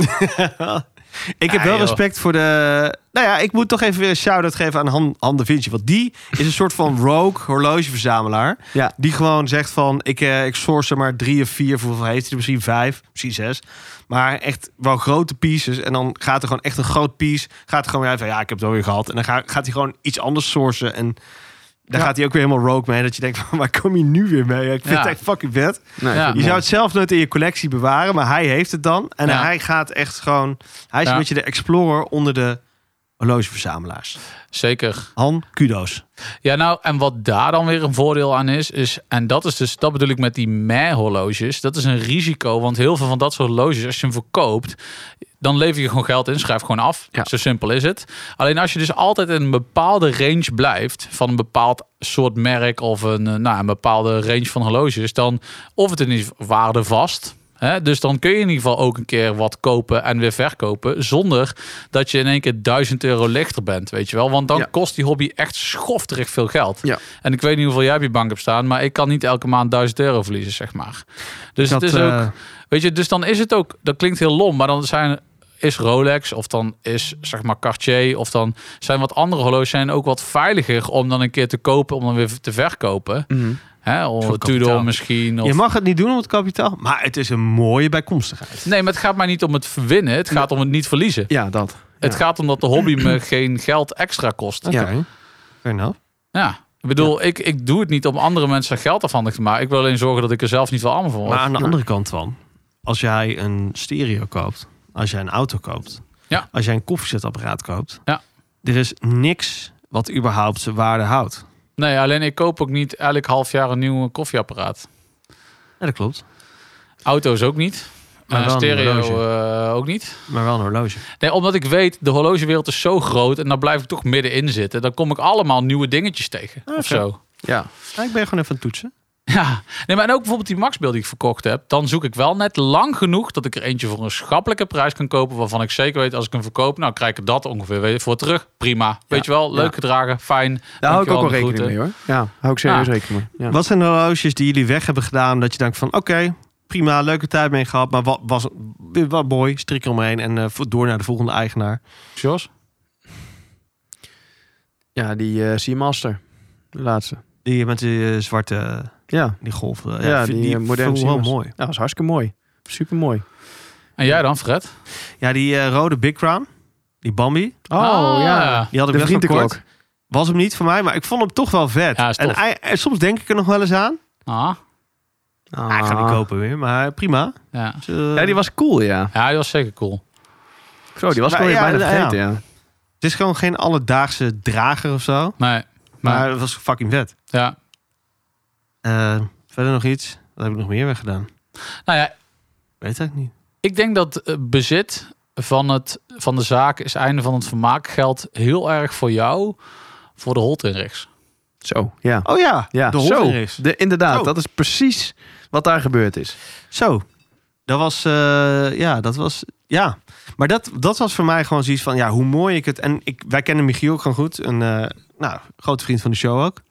D: Ik heb
B: Ah,
D: wel
B: joh.
D: respect voor de... Nou ja, ik moet toch even weer een shout-out geven aan Han, Han Da Vinci. Want die is een soort van rogue horlogeverzamelaar.
C: Ja.
D: Die gewoon zegt van, ik, eh, ik source er maar drie of vier. Voor hoeveel heeft hij er? Misschien vijf, misschien zes. Maar echt wel grote pieces. En dan gaat er gewoon echt een groot piece. Gaat er gewoon weer uit van, ja, ik heb het alweer gehad. En dan ga- gaat hij gewoon iets anders sourcen. En daar gaat hij ook weer helemaal rogue mee. Dat je denkt van, waar kom je nu weer mee? Ik vind
B: Ja.
D: het echt fucking vet.
B: Ja.
C: Nee, ik vind het
D: Je
C: mooi.
D: zou het zelf nooit in je collectie bewaren, maar hij heeft het dan. En
B: Ja.
D: hij gaat echt gewoon... Hij is
B: Ja.
D: een beetje de explorer onder de horlogeverzamelaars.
B: Zeker.
D: Han, kudo's.
B: Ja, nou, en wat daar dan weer een voordeel aan is, is en dat is dus, dat bedoel ik met die meh-horloges, dat is een risico, want heel veel van dat soort horloges, als je hem verkoopt, dan lever je gewoon geld in, schrijf gewoon af.
C: Ja.
B: Zo simpel is het. Alleen als je dus altijd in een bepaalde range blijft van een bepaald soort merk of een, eh, nou, een bepaalde range van horloges, dan of het in ieder geval waarde vast. Hè? Dus dan kun je in ieder geval ook een keer wat kopen en weer verkopen. Zonder dat je in één keer 1000 euro lichter bent, weet je wel. Want dan
C: Ja.
B: kost die hobby echt schofterig veel geld.
C: Ja.
B: En ik weet niet hoeveel jij op je bank hebt staan. Maar ik kan niet elke maand 1000 euro verliezen, zeg maar. Dus
D: Dat,
B: het is ook...
D: eh,
B: Weet je, dus dan is het ook, dat klinkt heel lom, maar dan zijn, is Rolex of dan is zeg maar Cartier of dan zijn wat andere horloges zijn ook wat veiliger om dan een keer te kopen, om dan weer te verkopen.
C: Mhm.
B: Hè, of
D: Voor
B: Tudor
D: kapitaal.
B: misschien. Of...
D: Je mag het niet doen om het kapitaal, maar het is een mooie bijkomstigheid.
B: Nee, maar het gaat mij niet om het winnen, het gaat om het niet verliezen.
C: Ja, dat.
B: Het gaat om dat de hobby me geen geld extra kost.
C: Ja.
D: Fair enough.
B: Ja. Ik bedoel, ik, ik doe het niet om andere mensen geld afhandig te maken. Ik wil alleen zorgen dat ik er zelf niet veel arm van word.
D: Maar aan de andere kant van, als jij een stereo koopt, als jij een auto koopt,
B: Ja.
D: als jij een koffiezetapparaat koopt,
B: Ja.
D: er is niks wat überhaupt zijn waarde houdt.
B: Nee, alleen ik koop ook niet elk half jaar een nieuw koffieapparaat.
D: Ja, dat klopt.
B: Auto's ook niet.
D: Maar
B: Eh,
D: wel een
B: stereo
D: horloge.
B: eh, ook niet.
D: Maar wel een horloge.
B: Nee, omdat ik weet, de horlogewereld is zo groot en dan blijf ik toch middenin zitten. Dan kom ik allemaal nieuwe dingetjes tegen.
D: Ah,
B: of
D: oké.
B: zo.
C: Ja.
D: Ja, ik ben gewoon even aan het toetsen.
B: Ja, nee, maar en ook bijvoorbeeld die Maxbeeld die ik verkocht heb. Dan zoek ik wel net lang genoeg dat ik er eentje voor een schappelijke prijs kan kopen. Waarvan ik zeker weet als ik hem verkoop, nou krijg ik dat ongeveer weer voor terug. Prima. Weet je wel, leuk gedragen, fijn.
C: Daar hou ik ook
B: Dankjewel,
C: wel
B: de
C: rekening
B: groeten.
C: mee hoor. Ja, hou ik serieus
B: Ja.
C: rekening mee. Ja.
D: Ah. Wat zijn de horloges die jullie weg hebben gedaan? Dat je denkt van, oké, prima, leuke tijd mee gehad. Maar wat was wat mooi, strik eromheen en eh, vo- door naar de volgende eigenaar.
B: Jos?
C: Ja, die eh Seamaster. De laatste.
D: Die met die eh, zwarte, eh,
C: Ja.
D: die golf. eh,
C: Ja, die, eh, moderne
D: vond ik wel
C: Siemens.
D: mooi.
C: ja, dat is hartstikke mooi. Super mooi.
B: En jij dan, Fred?
D: Ja, die eh, rode Big Crown, die Bambi,
C: Oh
B: Ah.
C: ja.
D: die had ik
C: De
D: best wel kort.
C: vriendenklok.
D: Was hem niet voor mij, maar ik vond hem toch wel vet.
B: Ja, is
D: en,
B: tof.
D: hij- en soms denk ik er nog wel eens aan.
B: Ah,
D: Ah, ik ga hem niet kopen weer, maar prima.
B: ja.
D: Dus, eh,
C: Ja, die was cool, ja.
B: ja, die was zeker cool.
C: Zo, die was ik
D: Maar
C: alweer
D: ja,
C: bijna
D: ja.
C: vergeten, ja.
D: Het is gewoon geen alledaagse drager of zo.
B: Nee,
D: Maar
B: maar
D: het was fucking vet.
B: ja.
D: Eh, verder nog iets? Wat heb ik nog meer weggedaan?
B: Nou ja,
D: Weet ik niet.
B: Ik denk dat eh, bezit van, het, van de zaak is einde van het vermaak geldt heel erg voor jou, voor de holdinrichs.
C: Zo, ja.
D: Oh ja,
C: ja.
D: de
C: zo.
D: Hofner is.
C: De, inderdaad,
D: Zo.
C: dat is precies wat daar gebeurd is.
D: Zo. Dat was, eh, ja, dat was, ja. Maar dat, dat was voor mij gewoon zoiets van, ja, hoe mooi ik het... En ik, wij kennen Michiel ook gewoon goed. Een eh, nou, grote vriend van de show ook.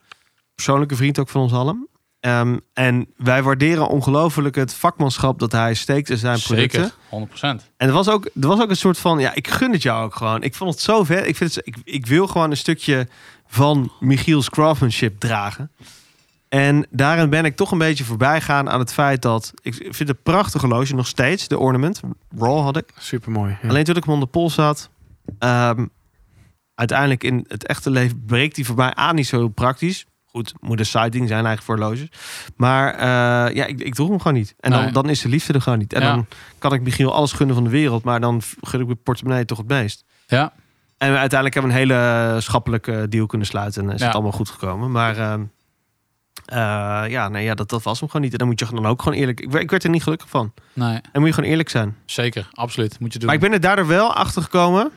D: Persoonlijke vriend ook van ons allen. Ehm, en wij waarderen ongelooflijk het vakmanschap dat hij steekt in zijn producten.
B: Zeker, 100%.
D: En er was, ook, er was ook een soort van, ja, ik gun het jou ook gewoon. Ik vond het zo vet. Ik, vind het, ik, ik wil gewoon een stukje van Michiel's craftsmanship dragen. En daarin ben ik toch een beetje voorbij gaan aan het feit dat... Ik vind het een prachtig horloge, nog steeds, de ornament. Raw had ik.
C: Supermooi. Ja.
D: Alleen toen ik hem onder de pols had... ehm, uiteindelijk in het echte leven breekt die voor mij aan niet zo heel praktisch. Goed, moet een sighting zijn eigenlijk voor horloges. Maar eh, ja, ik, ik droeg hem gewoon niet. En dan,
B: Nee.
D: dan is de liefde er gewoon niet. En
B: Ja.
D: dan kan ik Michiel alles gunnen van de wereld. Maar dan v- gun ik mijn portemonnee toch het meest.
B: Ja.
D: En we uiteindelijk hebben we een hele schappelijke deal kunnen sluiten. En is
B: Ja.
D: het allemaal goed gekomen. Maar ehm, eh, ja, nee, ja dat, dat was hem gewoon niet. En dan moet je dan ook gewoon eerlijk... Ik, werd- ik werd er niet gelukkig van.
B: Nee,
D: En moet je gewoon eerlijk zijn.
B: zeker, absoluut. Moet je doen.
D: Maar ik ben er daardoor wel achter gekomen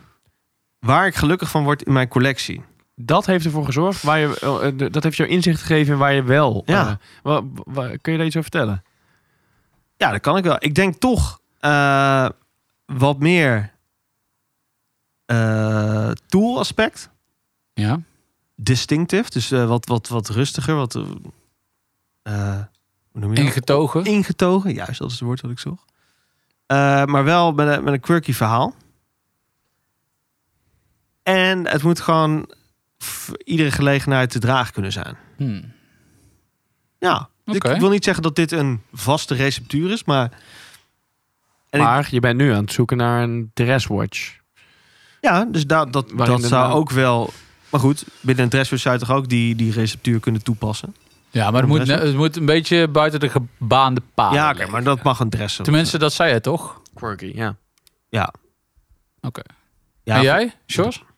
D: waar ik gelukkig van word in mijn collectie.
C: Dat heeft ervoor gezorgd, waar je, eh, eh, de- dat heeft jou inzicht gegeven in waar je wel...
D: Ja.
C: eh, wa- wa- kun je daar iets over vertellen?
D: Ja, dat kan ik wel. Ik denk toch eh, wat meer eh, tool aspect.
B: Ja,
D: Distinctive. Dus eh, wat, wat, wat rustiger. Wat, eh, eh, hoe noem je dat?
B: ingetogen.
D: Ingetogen. Juist, dat is het woord dat ik zocht. Eh, maar wel met een, met een quirky verhaal. En het moet gewoon voor iedere gelegenheid te dragen kunnen zijn.
B: Hm.
D: Ja, dus
B: Oké.
D: ik wil niet zeggen dat dit een vaste receptuur is, maar En ik-
C: maar je bent nu aan het zoeken naar een dresswatch.
D: Ja, dus da dat,
C: Waarin
D: dat
C: de
D: zou
C: naam-
D: ook wel... Maar goed, binnen een dresswatch zou je toch ook die, die receptuur kunnen toepassen?
B: Ja, maar het moet,
D: Best wel.
B: het moet een beetje buiten de gebaande
C: Ah,
B: paden.
D: ja, oké,
B: liggen.
D: maar dat mag een dress. zijn.
B: Tenminste, dat zei je toch?
C: Quirky, ja.
D: Ja.
B: Oké.
D: Ja,
B: en jij, Jos?
C: I-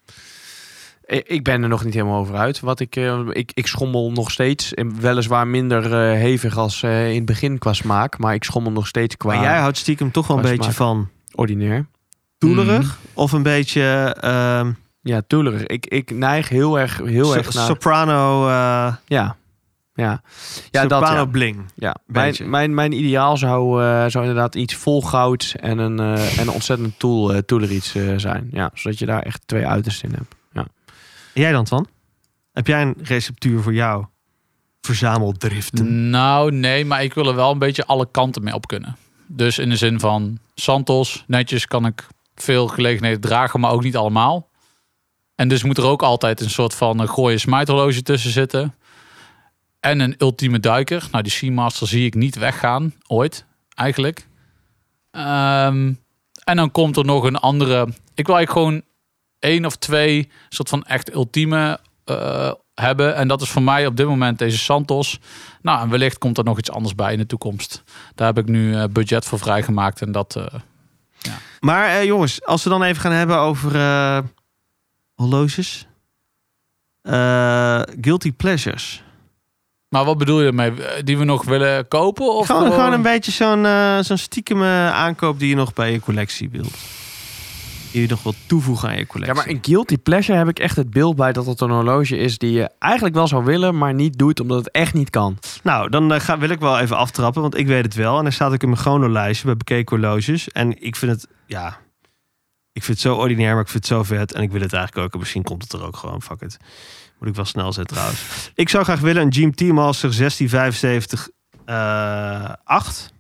C: Eh, Ik ben er nog niet helemaal over uit. Wat ik, eh, ik, ik schommel nog steeds. En Weliswaar minder eh, hevig als eh, in het begin qua smaak. Maar ik schommel nog steeds qua
D: Maar jij houdt stiekem toch wel een
C: Qua
D: beetje van
C: ordinair.
D: doelerig?
B: Mm-hmm.
D: Of een beetje ehm,
C: Ja, toelerig. Ik, ik neig heel erg, heel
D: so-
C: erg naar...
D: soprano, eh
C: ja. Ja, ja dat
D: soprano
C: ja.
D: bling?
C: ja. Mijn,
D: beetje.
C: mijn, mijn ideaal zou, eh, zou inderdaad iets vol goud en een, eh, en een ontzettend tool, eh toeler iets eh, zijn. Ja, zodat je daar echt twee uitersten in hebt.
D: En jij dan, Twan? Heb jij een receptuur voor jou? Verzameldriften.
B: Nou, nee, maar ik wil er wel een beetje alle kanten mee op kunnen. Dus in de zin van Santos, netjes kan ik veel gelegenheden dragen, maar ook niet allemaal. En dus moet er ook altijd een soort van een gooie smijthorloge tussen zitten. En een ultieme duiker. Nou, die Seamaster zie ik niet weggaan, ooit, eigenlijk. Ehm, en dan komt er nog een andere. Ik wil eigenlijk gewoon één of twee soort van echt ultieme eh, hebben. En dat is voor mij op dit moment deze Santos. Nou, en wellicht komt er nog iets anders bij in de toekomst. Daar heb ik nu eh, budget voor vrijgemaakt. En dat. eh,
D: Maar eh, jongens, als we dan even gaan hebben over eh, horloges. Eh, guilty pleasures.
B: Maar wat bedoel je ermee? Eh, Die we nog willen kopen? Of
C: oh.
D: gewoon, gewoon een beetje zo'n eh, zo'n stiekem eh, aankoop die je nog bij je collectie wilt. die je nog wil toevoegen aan je
C: Ja,
D: collectie.
C: maar een guilty pleasure heb ik echt het beeld bij dat het een horloge is die je eigenlijk wel zou willen, maar niet doet omdat het echt niet kan.
D: Nou, dan eh, ga, wil ik wel even aftrappen, want ik weet het wel. En er staat ook in mijn chronolijstje bij bekeken horloges. En ik vind het, ja... Ik vind het zo ordinair, maar ik vind het zo vet. En ik wil het eigenlijk ook. En misschien komt het er ook gewoon, fuck it. Moet ik wel snel zijn trouwens. ik zou graag willen een GMT Master 1675 eh 8.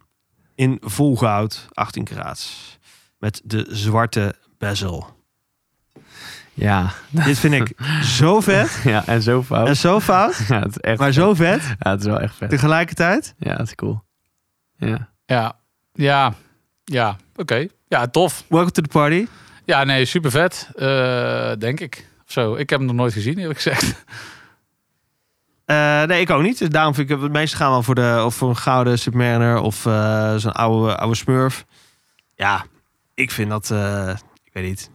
D: In vol goud, 18 karaats. Met de zwarte bezel.
C: Ja,
D: Dit vind ik zo vet.
C: ja en zo fout.
D: En zo fout,
C: Ja, het is echt,
D: maar zo vet.
C: ja, het is wel echt vet.
D: Tegelijkertijd.
C: Ja, het is cool. Ja.
B: Ja, ja, ja. Oké. Ja, tof.
D: Welcome to the party.
B: Ja, nee, super vet. denk ik. Of zo. Ik heb hem nog nooit gezien, eerlijk gezegd.
D: Eh, nee, ik ook niet. Dus daarom vind ik het meeste gaan wel voor, de, of voor een gouden Submariner of eh, zo'n oude, oude Smurf. Ja, ik vind dat, eh, ik weet niet.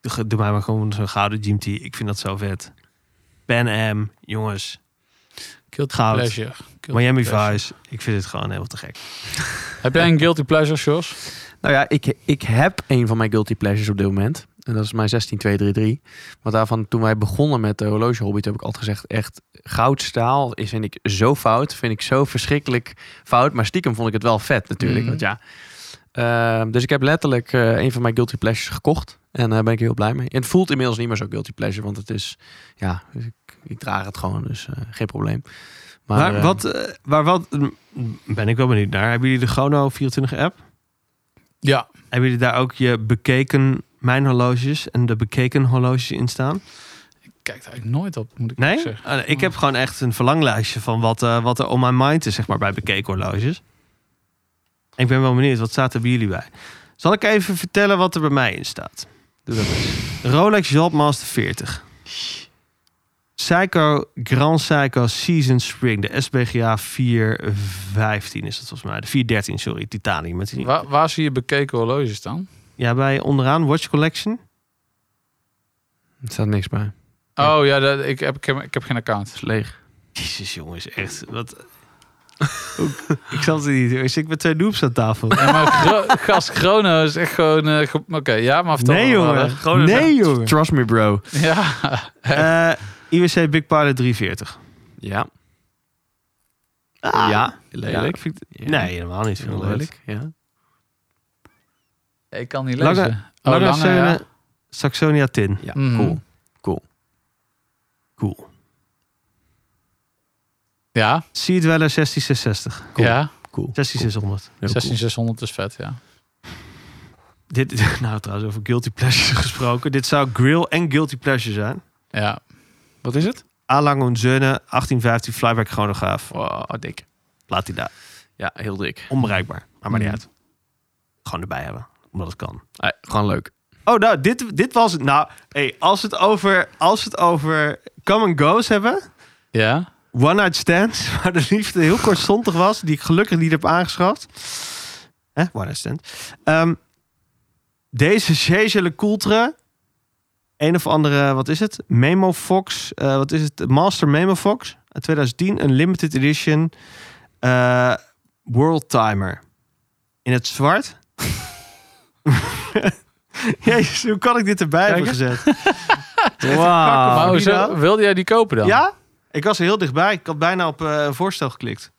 D: Doe, doe mij maar gewoon zo'n gouden GMT. Ik vind dat zo vet. Pan Am, jongens.
B: Guilty
D: Goud.
B: pleasure. Guilty
D: Miami
B: pleasure.
D: Vice. Ik vind het gewoon helemaal te gek.
B: Heb jij een guilty pleasure, Jos?
C: Nou ja, ik, ik heb een van mijn guilty pleasures op dit moment. En dat is mijn 16233. Want daarvan, toen wij begonnen met de horloge hobby, heb ik altijd gezegd, echt goudstaal is, vind ik zo fout. Vind ik zo verschrikkelijk fout. Maar stiekem vond ik het wel vet natuurlijk.
B: Mhm.
C: Want ja. Ehm, dus ik heb letterlijk eh, een van mijn guilty pleasures gekocht. En daar ben ik heel blij mee. En het voelt inmiddels niet meer zo guilty pleasure. Want het is, ja, ik, ik draag het gewoon. Dus eh, geen probleem. Maar,
D: Maar,
C: eh,
D: wat, eh, maar wat, mm, ben ik wel benieuwd naar. Hebben jullie de Chrono 24 app?
B: Ja.
D: Hebben jullie daar ook je bekeken mijn horloges en de bekeken horloges in staan?
B: Kijk daar eigenlijk nooit op, moet ik
D: Nee?
B: zeggen.
D: Ah, nee, ik heb gewoon echt een verlanglijstje van wat, eh, wat er on my mind is, zeg maar, bij bekeken horloges. Ik ben wel benieuwd, wat staat er bij jullie bij? Zal ik even vertellen wat er bij mij in staat?
C: Doe dat
D: Rolex Jobmaster 40. Psycho Grand Psycho Season Spring. De SBGA 415 is dat volgens mij. De 413, sorry. Titanium. Met die...
B: Waar, waar zie je bekeken horloges dan?
D: Ja, bij onderaan Watch Collection.
C: Er staat niks bij.
B: Oh ja, dat, ik, heb, ik, heb, ik heb geen account.
C: Het is leeg.
D: Jezus jongens, echt. Wat... ik zat er niet. Ik zit met twee noobs aan tafel.
B: Ja, maar gro- gast Chrono is echt gewoon... eh, ge- Oké, ja, maar vertel
D: Nee,
B: me wel,
D: jongen.
B: hè.
D: nee, jongen.
C: Trust me bro.
B: Ja.
D: Eh IWC Big Pilot 340.
C: Ja.
D: Ah.
C: ja.
D: Ja, ik vind-
C: Ja.
D: Nee, helemaal niet. Vind ik wel leuk.
C: Ja.
B: Ik kan niet lezen.
D: Lange-
B: oh,
D: Lange
B: lange, ja.
D: Seine Saxonia 10.
C: Ja,
B: Mhm.
C: cool.
D: Cool.
B: Ja,
D: Sea Dweller 16660.
C: Cool.
B: ja.
C: Cool.
D: 16600.
C: Heel
B: 16600 is vet, ja.
D: Dit, nou trouwens, over guilty pleasures gesproken. Dit zou grill en guilty pleasure zijn.
B: Ja. Wat is het?
D: Alang Onzöne 1815 flyback chronograaf.
C: cool. Wow, dik.
D: Laat die daar.
C: Ja, heel dik.
D: Onbereikbaar. Maar maar niet
B: Mm.
D: uit. Gewoon erbij hebben. Omdat het kan.
C: Ah, gewoon leuk.
D: Oh, nou, dit, dit was het. Nou, hey, als, het over, als het over come and go's hebben...
B: Ja.
D: One Night Stands, waar de liefde heel kortstondig was, die ik gelukkig niet heb aangeschaft. Hè, One Night Stand. Ehm, deze Gege Le Coultre, een of andere, wat is het? Memo Fox, eh, wat is het? Master Memo Fox, uit 2010, een limited edition eh, World Timer. In het zwart. Jezus, hoe kan ik dit erbij hebben gezet?
B: maar
D: Ah.
C: Wauw.
D: wie
B: hoezo-
D: dan?
B: wilde jij die kopen dan?
D: nou? Ja? Ik was er heel dichtbij. Ik had bijna op eh, een voorstel geklikt.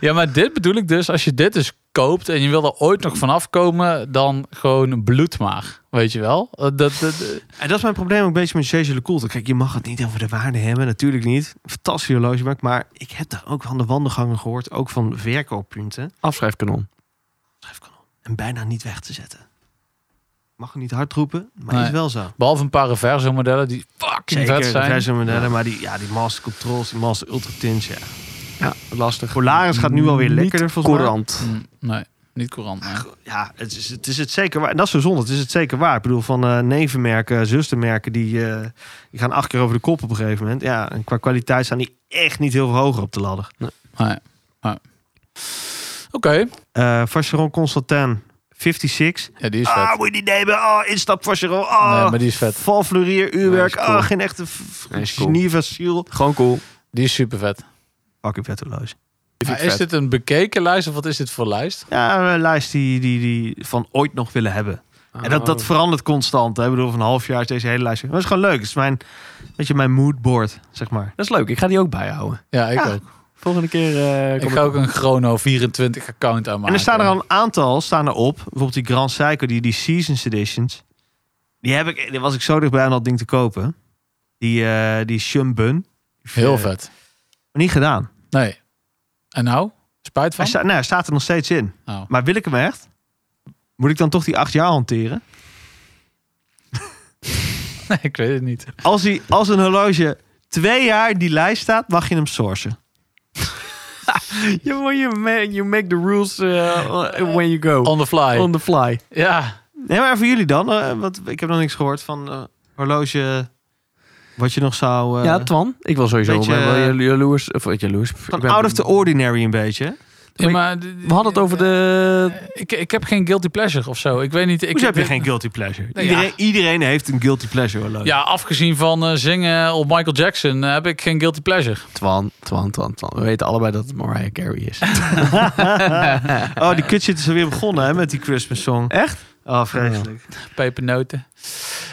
B: Ja, maar dit bedoel ik dus. Als je dit dus koopt en je wil er ooit nog vanaf komen, dan gewoon bloed maar. Weet je wel? Eh, Dat, dat, eh,
D: En dat is mijn probleem ook een beetje met Serge Lecoultre. Kijk, je mag het niet over de waarde hebben, natuurlijk niet. Fantastisch horlogemerk, maar ik heb daar ook van de wandelgangen gehoord, ook van verkooppunten.
C: Afschrijfkanon.
D: Schrijfkanon. En bijna niet weg te zetten. Mag het niet hard roepen, maar
B: Nee.
D: is wel zo.
B: behalve een paar reverso modellen die fucking
D: Zeker,
B: vet
D: de
B: zijn.
D: verse modellen, maar die, ja, die master controls, die master ultra tints, ja.
C: Ja, lastig.
D: Polaris gaat nu alweer
C: Niet
D: lekkerder volgens mij.
C: Courant.
B: Mm, nee, niet courant. nee.
D: Ja, het is, het is het zeker waar. En dat is zo zonde, het is het zeker waar. Ik bedoel, van eh, nevenmerken, zustermerken, die, eh, die gaan acht keer over de kop op een gegeven moment. Ja, en qua kwaliteit staan die echt niet heel veel hoger op de ladder.
B: Nee, nee. Oké,
D: eh Vacheron Constantin 56.
B: ja, die is vet.
D: Ah, moet je die nemen. Oh, instap Vacheron.
B: Nee,
D: Oh,
B: maar die is vet.
D: Valfleurier, uurwerk.
C: Nee, is cool.
D: Ah, geen echte f-
C: Nee, is cool.
D: genie van ziel.
C: Gewoon cool.
B: Die is super vet.
D: Fucking vetteloos.
B: Maar is dit een bekeken lijst of wat is dit voor lijst?
D: Ja, een lijst die, die, die van ooit nog willen hebben. En dat,
C: Oh.
D: dat verandert constant. Hè? Ik bedoel, van een half jaar is deze hele lijst. weer- Maar het is gewoon leuk. Het is mijn, weet je, mijn moodboard, zeg maar.
F: Dat is leuk. Ik ga die ook bijhouden.
B: Ja, ik
D: Ja,
B: ook.
F: Volgende keer eh, kom
B: Ik ga ook een Chrono 24 account aanmaken.
D: En er staan er al een aantal staan er op. Bijvoorbeeld die Grand Psycho, die, die Seasons Editions. Die, heb ik, die was ik zo dichtbij om dat ding te kopen. Die, eh, die Shumbun.
B: Heel vet.
D: Niet gedaan.
B: Nee. En nou? Spijt van?
D: Hij, sta, nee, hij staat er nog steeds in.
B: Oh.
D: Maar wil ik hem echt? Moet ik dan toch die acht jaar hanteren?
B: Nee, ik weet het niet.
D: Als, hij, als een horloge twee jaar in die lijst staat, mag je hem sourcen.
F: You, you, make, you make the rules eh, when you go.
B: On the fly.
F: On the fly.
B: Ja.
D: Nee, maar voor jullie dan. eh, wat, ik heb nog niks gehoord van eh, horloge... Wat je nog zou... eh,
F: ja, Twan. Ik wil sowieso
D: beetje,
F: wel wel jaloers... Of eh, jaloers.
D: van
F: Ik ben-
D: out of the ordinary een beetje. hè?
B: ja maar, d-
F: We hadden het
B: eh,
F: over de...
B: Ik, ik heb geen guilty pleasure of zo. Ik weet niet. Ik
D: Hoezo heb je geen guilty pleasure?
B: Nou ja.
D: iedereen, iedereen heeft een guilty pleasure horloge.
B: Ja, afgezien van eh, zingen op Michael Jackson eh, heb ik geen guilty pleasure.
F: Twan, Twan, Twan, Twan. We weten allebei dat het Mariah Carey is.
D: Oh, die kutshit is alweer begonnen hè, met die Christmas song.
F: Echt?
D: Oh, vreselijk.
B: Pepernoten.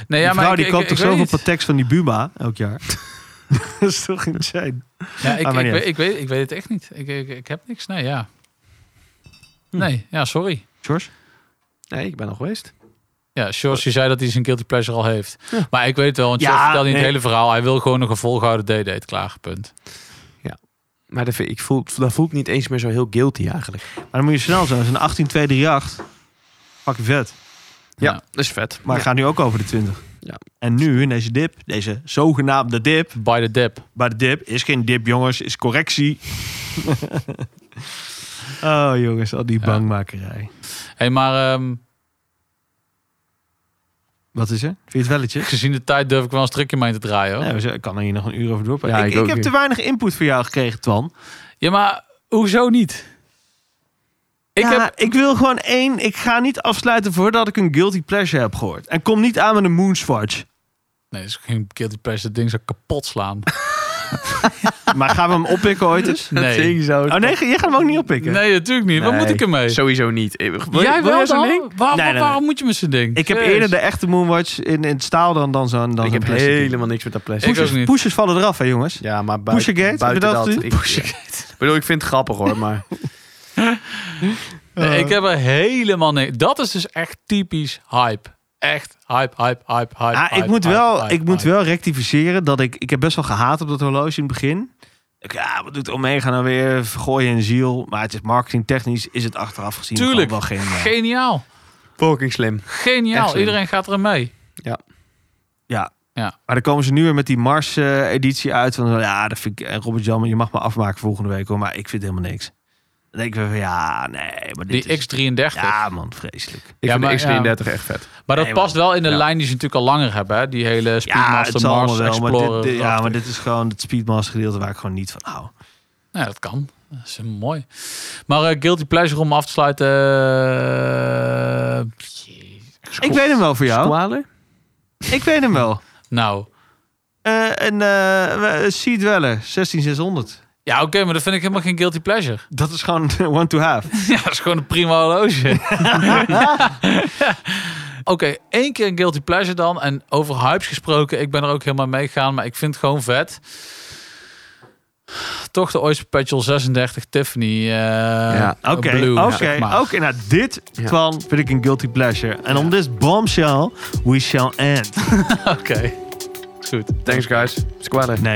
B: Nee, ja,
D: die vrouw
B: maar
D: die
B: ik,
D: koopt
B: ik,
D: toch
B: ik weet
D: zoveel
B: niet.
D: pateks van die Buma elk jaar? dat is toch insane?
B: Ja, ik,
D: Ah, maar
B: ik,
D: niet
B: weet, ik, weet, ik weet het echt niet. Ik, ik, ik heb niks. Nee, ja.
D: Hm.
B: Nee, ja, sorry.
D: George?
F: Nee, ik ben al geweest.
B: Ja, George die zei dat hij zijn guilty pleasure al heeft. Maar ik weet het wel, want
D: Ja,
B: George vertelde niet
D: nee.
B: het hele verhaal. Hij wil gewoon nog een volgehouden day-date. Klaar, punt.
F: Maar dat, vind ik voel, dat voelt niet eens meer zo heel guilty eigenlijk.
D: Maar dan moet je snel zijn. Dat is een 18238. Fucking vet.
B: Ja.
F: dat is vet.
D: Maar het gaat nu ook over de 20.
F: Ja.
D: En nu in deze dip, deze zogenaamde dip.
B: By the dip.
D: Maar de dip is geen dip, jongens. Is correctie. oh, jongens. Al die
B: Ja.
D: bangmakerij.
B: hey, maar ehm,
D: Wat is er? Vind je het welletje?
B: gezien de tijd durf ik wel een strikje mee te draaien. Hoor.
D: Nou, ik kan er hier nog een uur over doorpakken.
F: Ja,
D: ik
F: ik
D: ik
F: ook
D: heb
F: niet.
D: te weinig input voor jou gekregen, Twan.
B: Ja, maar hoezo niet? Ik
D: Ja,
B: heb...
D: ik wil gewoon één... Ik ga niet afsluiten voordat ik een guilty pleasure heb gehoord. En kom niet aan met een moonswatch.
B: Nee, dat is geen guilty pleasure. Dat ding zou kapot slaan.
D: maar gaan we hem oppikken ooit eens?
B: Nee.
F: zo.
D: Oh nee, jij gaat hem ook niet oppikken?
B: Nee, natuurlijk niet. Wat moet ik ermee?
F: Sowieso niet. Eh, wil-
B: Jij
F: wil
B: wel
F: zo'n
B: dan?
F: ding?
B: Waarom, waarom-
D: Nee, nee, nee.
B: waarom moet je met zo'n ding?
D: Ik heb
B: Serieus.
D: eerder de echte moonwatch in, in het staal dan, dan zo'n dan
F: Ik
D: zo'n
F: heb
D: plastic.
F: helemaal niks met dat plastic.
B: Ik ook niet.
D: Pushers vallen eraf, hè jongens?
F: Ja, maar bui-
D: Pushergate, heb je
F: buiten
D: dat gezien?
F: ik, Ik bedoel, ik vind het grappig hoor, maar...
D: Eh.
B: Nee, ik heb er helemaal niks. Dat is dus echt typisch hype. Echt hype, hype, hype, hype.
D: Ah, ik
B: hype,
D: moet,
B: hype,
D: wel,
B: hype,
D: ik moet
B: hype.
D: wel rectificeren dat ik... Ik heb best wel gehaat op dat horloge in het begin. Ik, ja, wat doet Omega nou weer? Gooi een ziel. Maar het is marketingtechnisch is het achteraf gezien
B: Tuurlijk.
D: gewoon wel geen... eh,
B: Geniaal.
F: Fucking slim. Echt
B: Geniaal.
F: slim.
B: Iedereen gaat er mee.
D: Ja.
B: Ja.
D: Maar dan komen ze nu weer met die Mars-editie uit. Van, ja, dat vind ik, eh, Robert Jan, je mag me afmaken volgende week hoor. Maar ik vind helemaal niks. Dan denk ik weer van, ja, nee. Maar dit
B: Die
D: is,
B: X33.
D: Ja, man, vreselijk.
F: Ik
B: Ja, maar-
F: vind de X33 echt vet.
B: Maar dat
D: Nee,
B: past wel in de
D: Ja.
B: lijn die ze natuurlijk al langer hebben. Hè? Die hele
D: Ja,
B: Speedmaster
D: het zal
B: Mars
D: allemaal wel. Maar
B: Explorer.
D: dit, dit- ja, maar dit is gewoon het Speedmaster-gedeelte waar ik gewoon niet van hou.
B: Ja, dat kan. Dat is eh, mooi. Maar eh, Guilty Pleasure om af te sluiten. eh, jee.
D: Ik weet hem wel voor jou.
F: Koalen?
D: Ik weet hem wel.
B: Nou,
D: Eh een eh, eh, Sea Dweller 16600.
B: ja oké, maar dat vind ik helemaal geen Guilty Pleasure.
D: Dat is gewoon one to have.
B: Ja, dat is gewoon een prima horloge. Oké, één keer een guilty pleasure dan. En over hypes gesproken, ik ben er ook helemaal mee gegaan, maar ik vind het gewoon vet. Toch de Oyster Perpetual 36 Tiffany eh
D: Oké,
B: Blue.
D: oké.
B: zeg maar.
D: Oké, nou dit, Twan, vind ik een guilty pleasure. En on this bombshell, we shall end.
B: Oké. Is goed.
F: Thanks guys. Squadden.
D: Nee.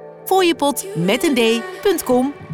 A: Fooiepot met een d.com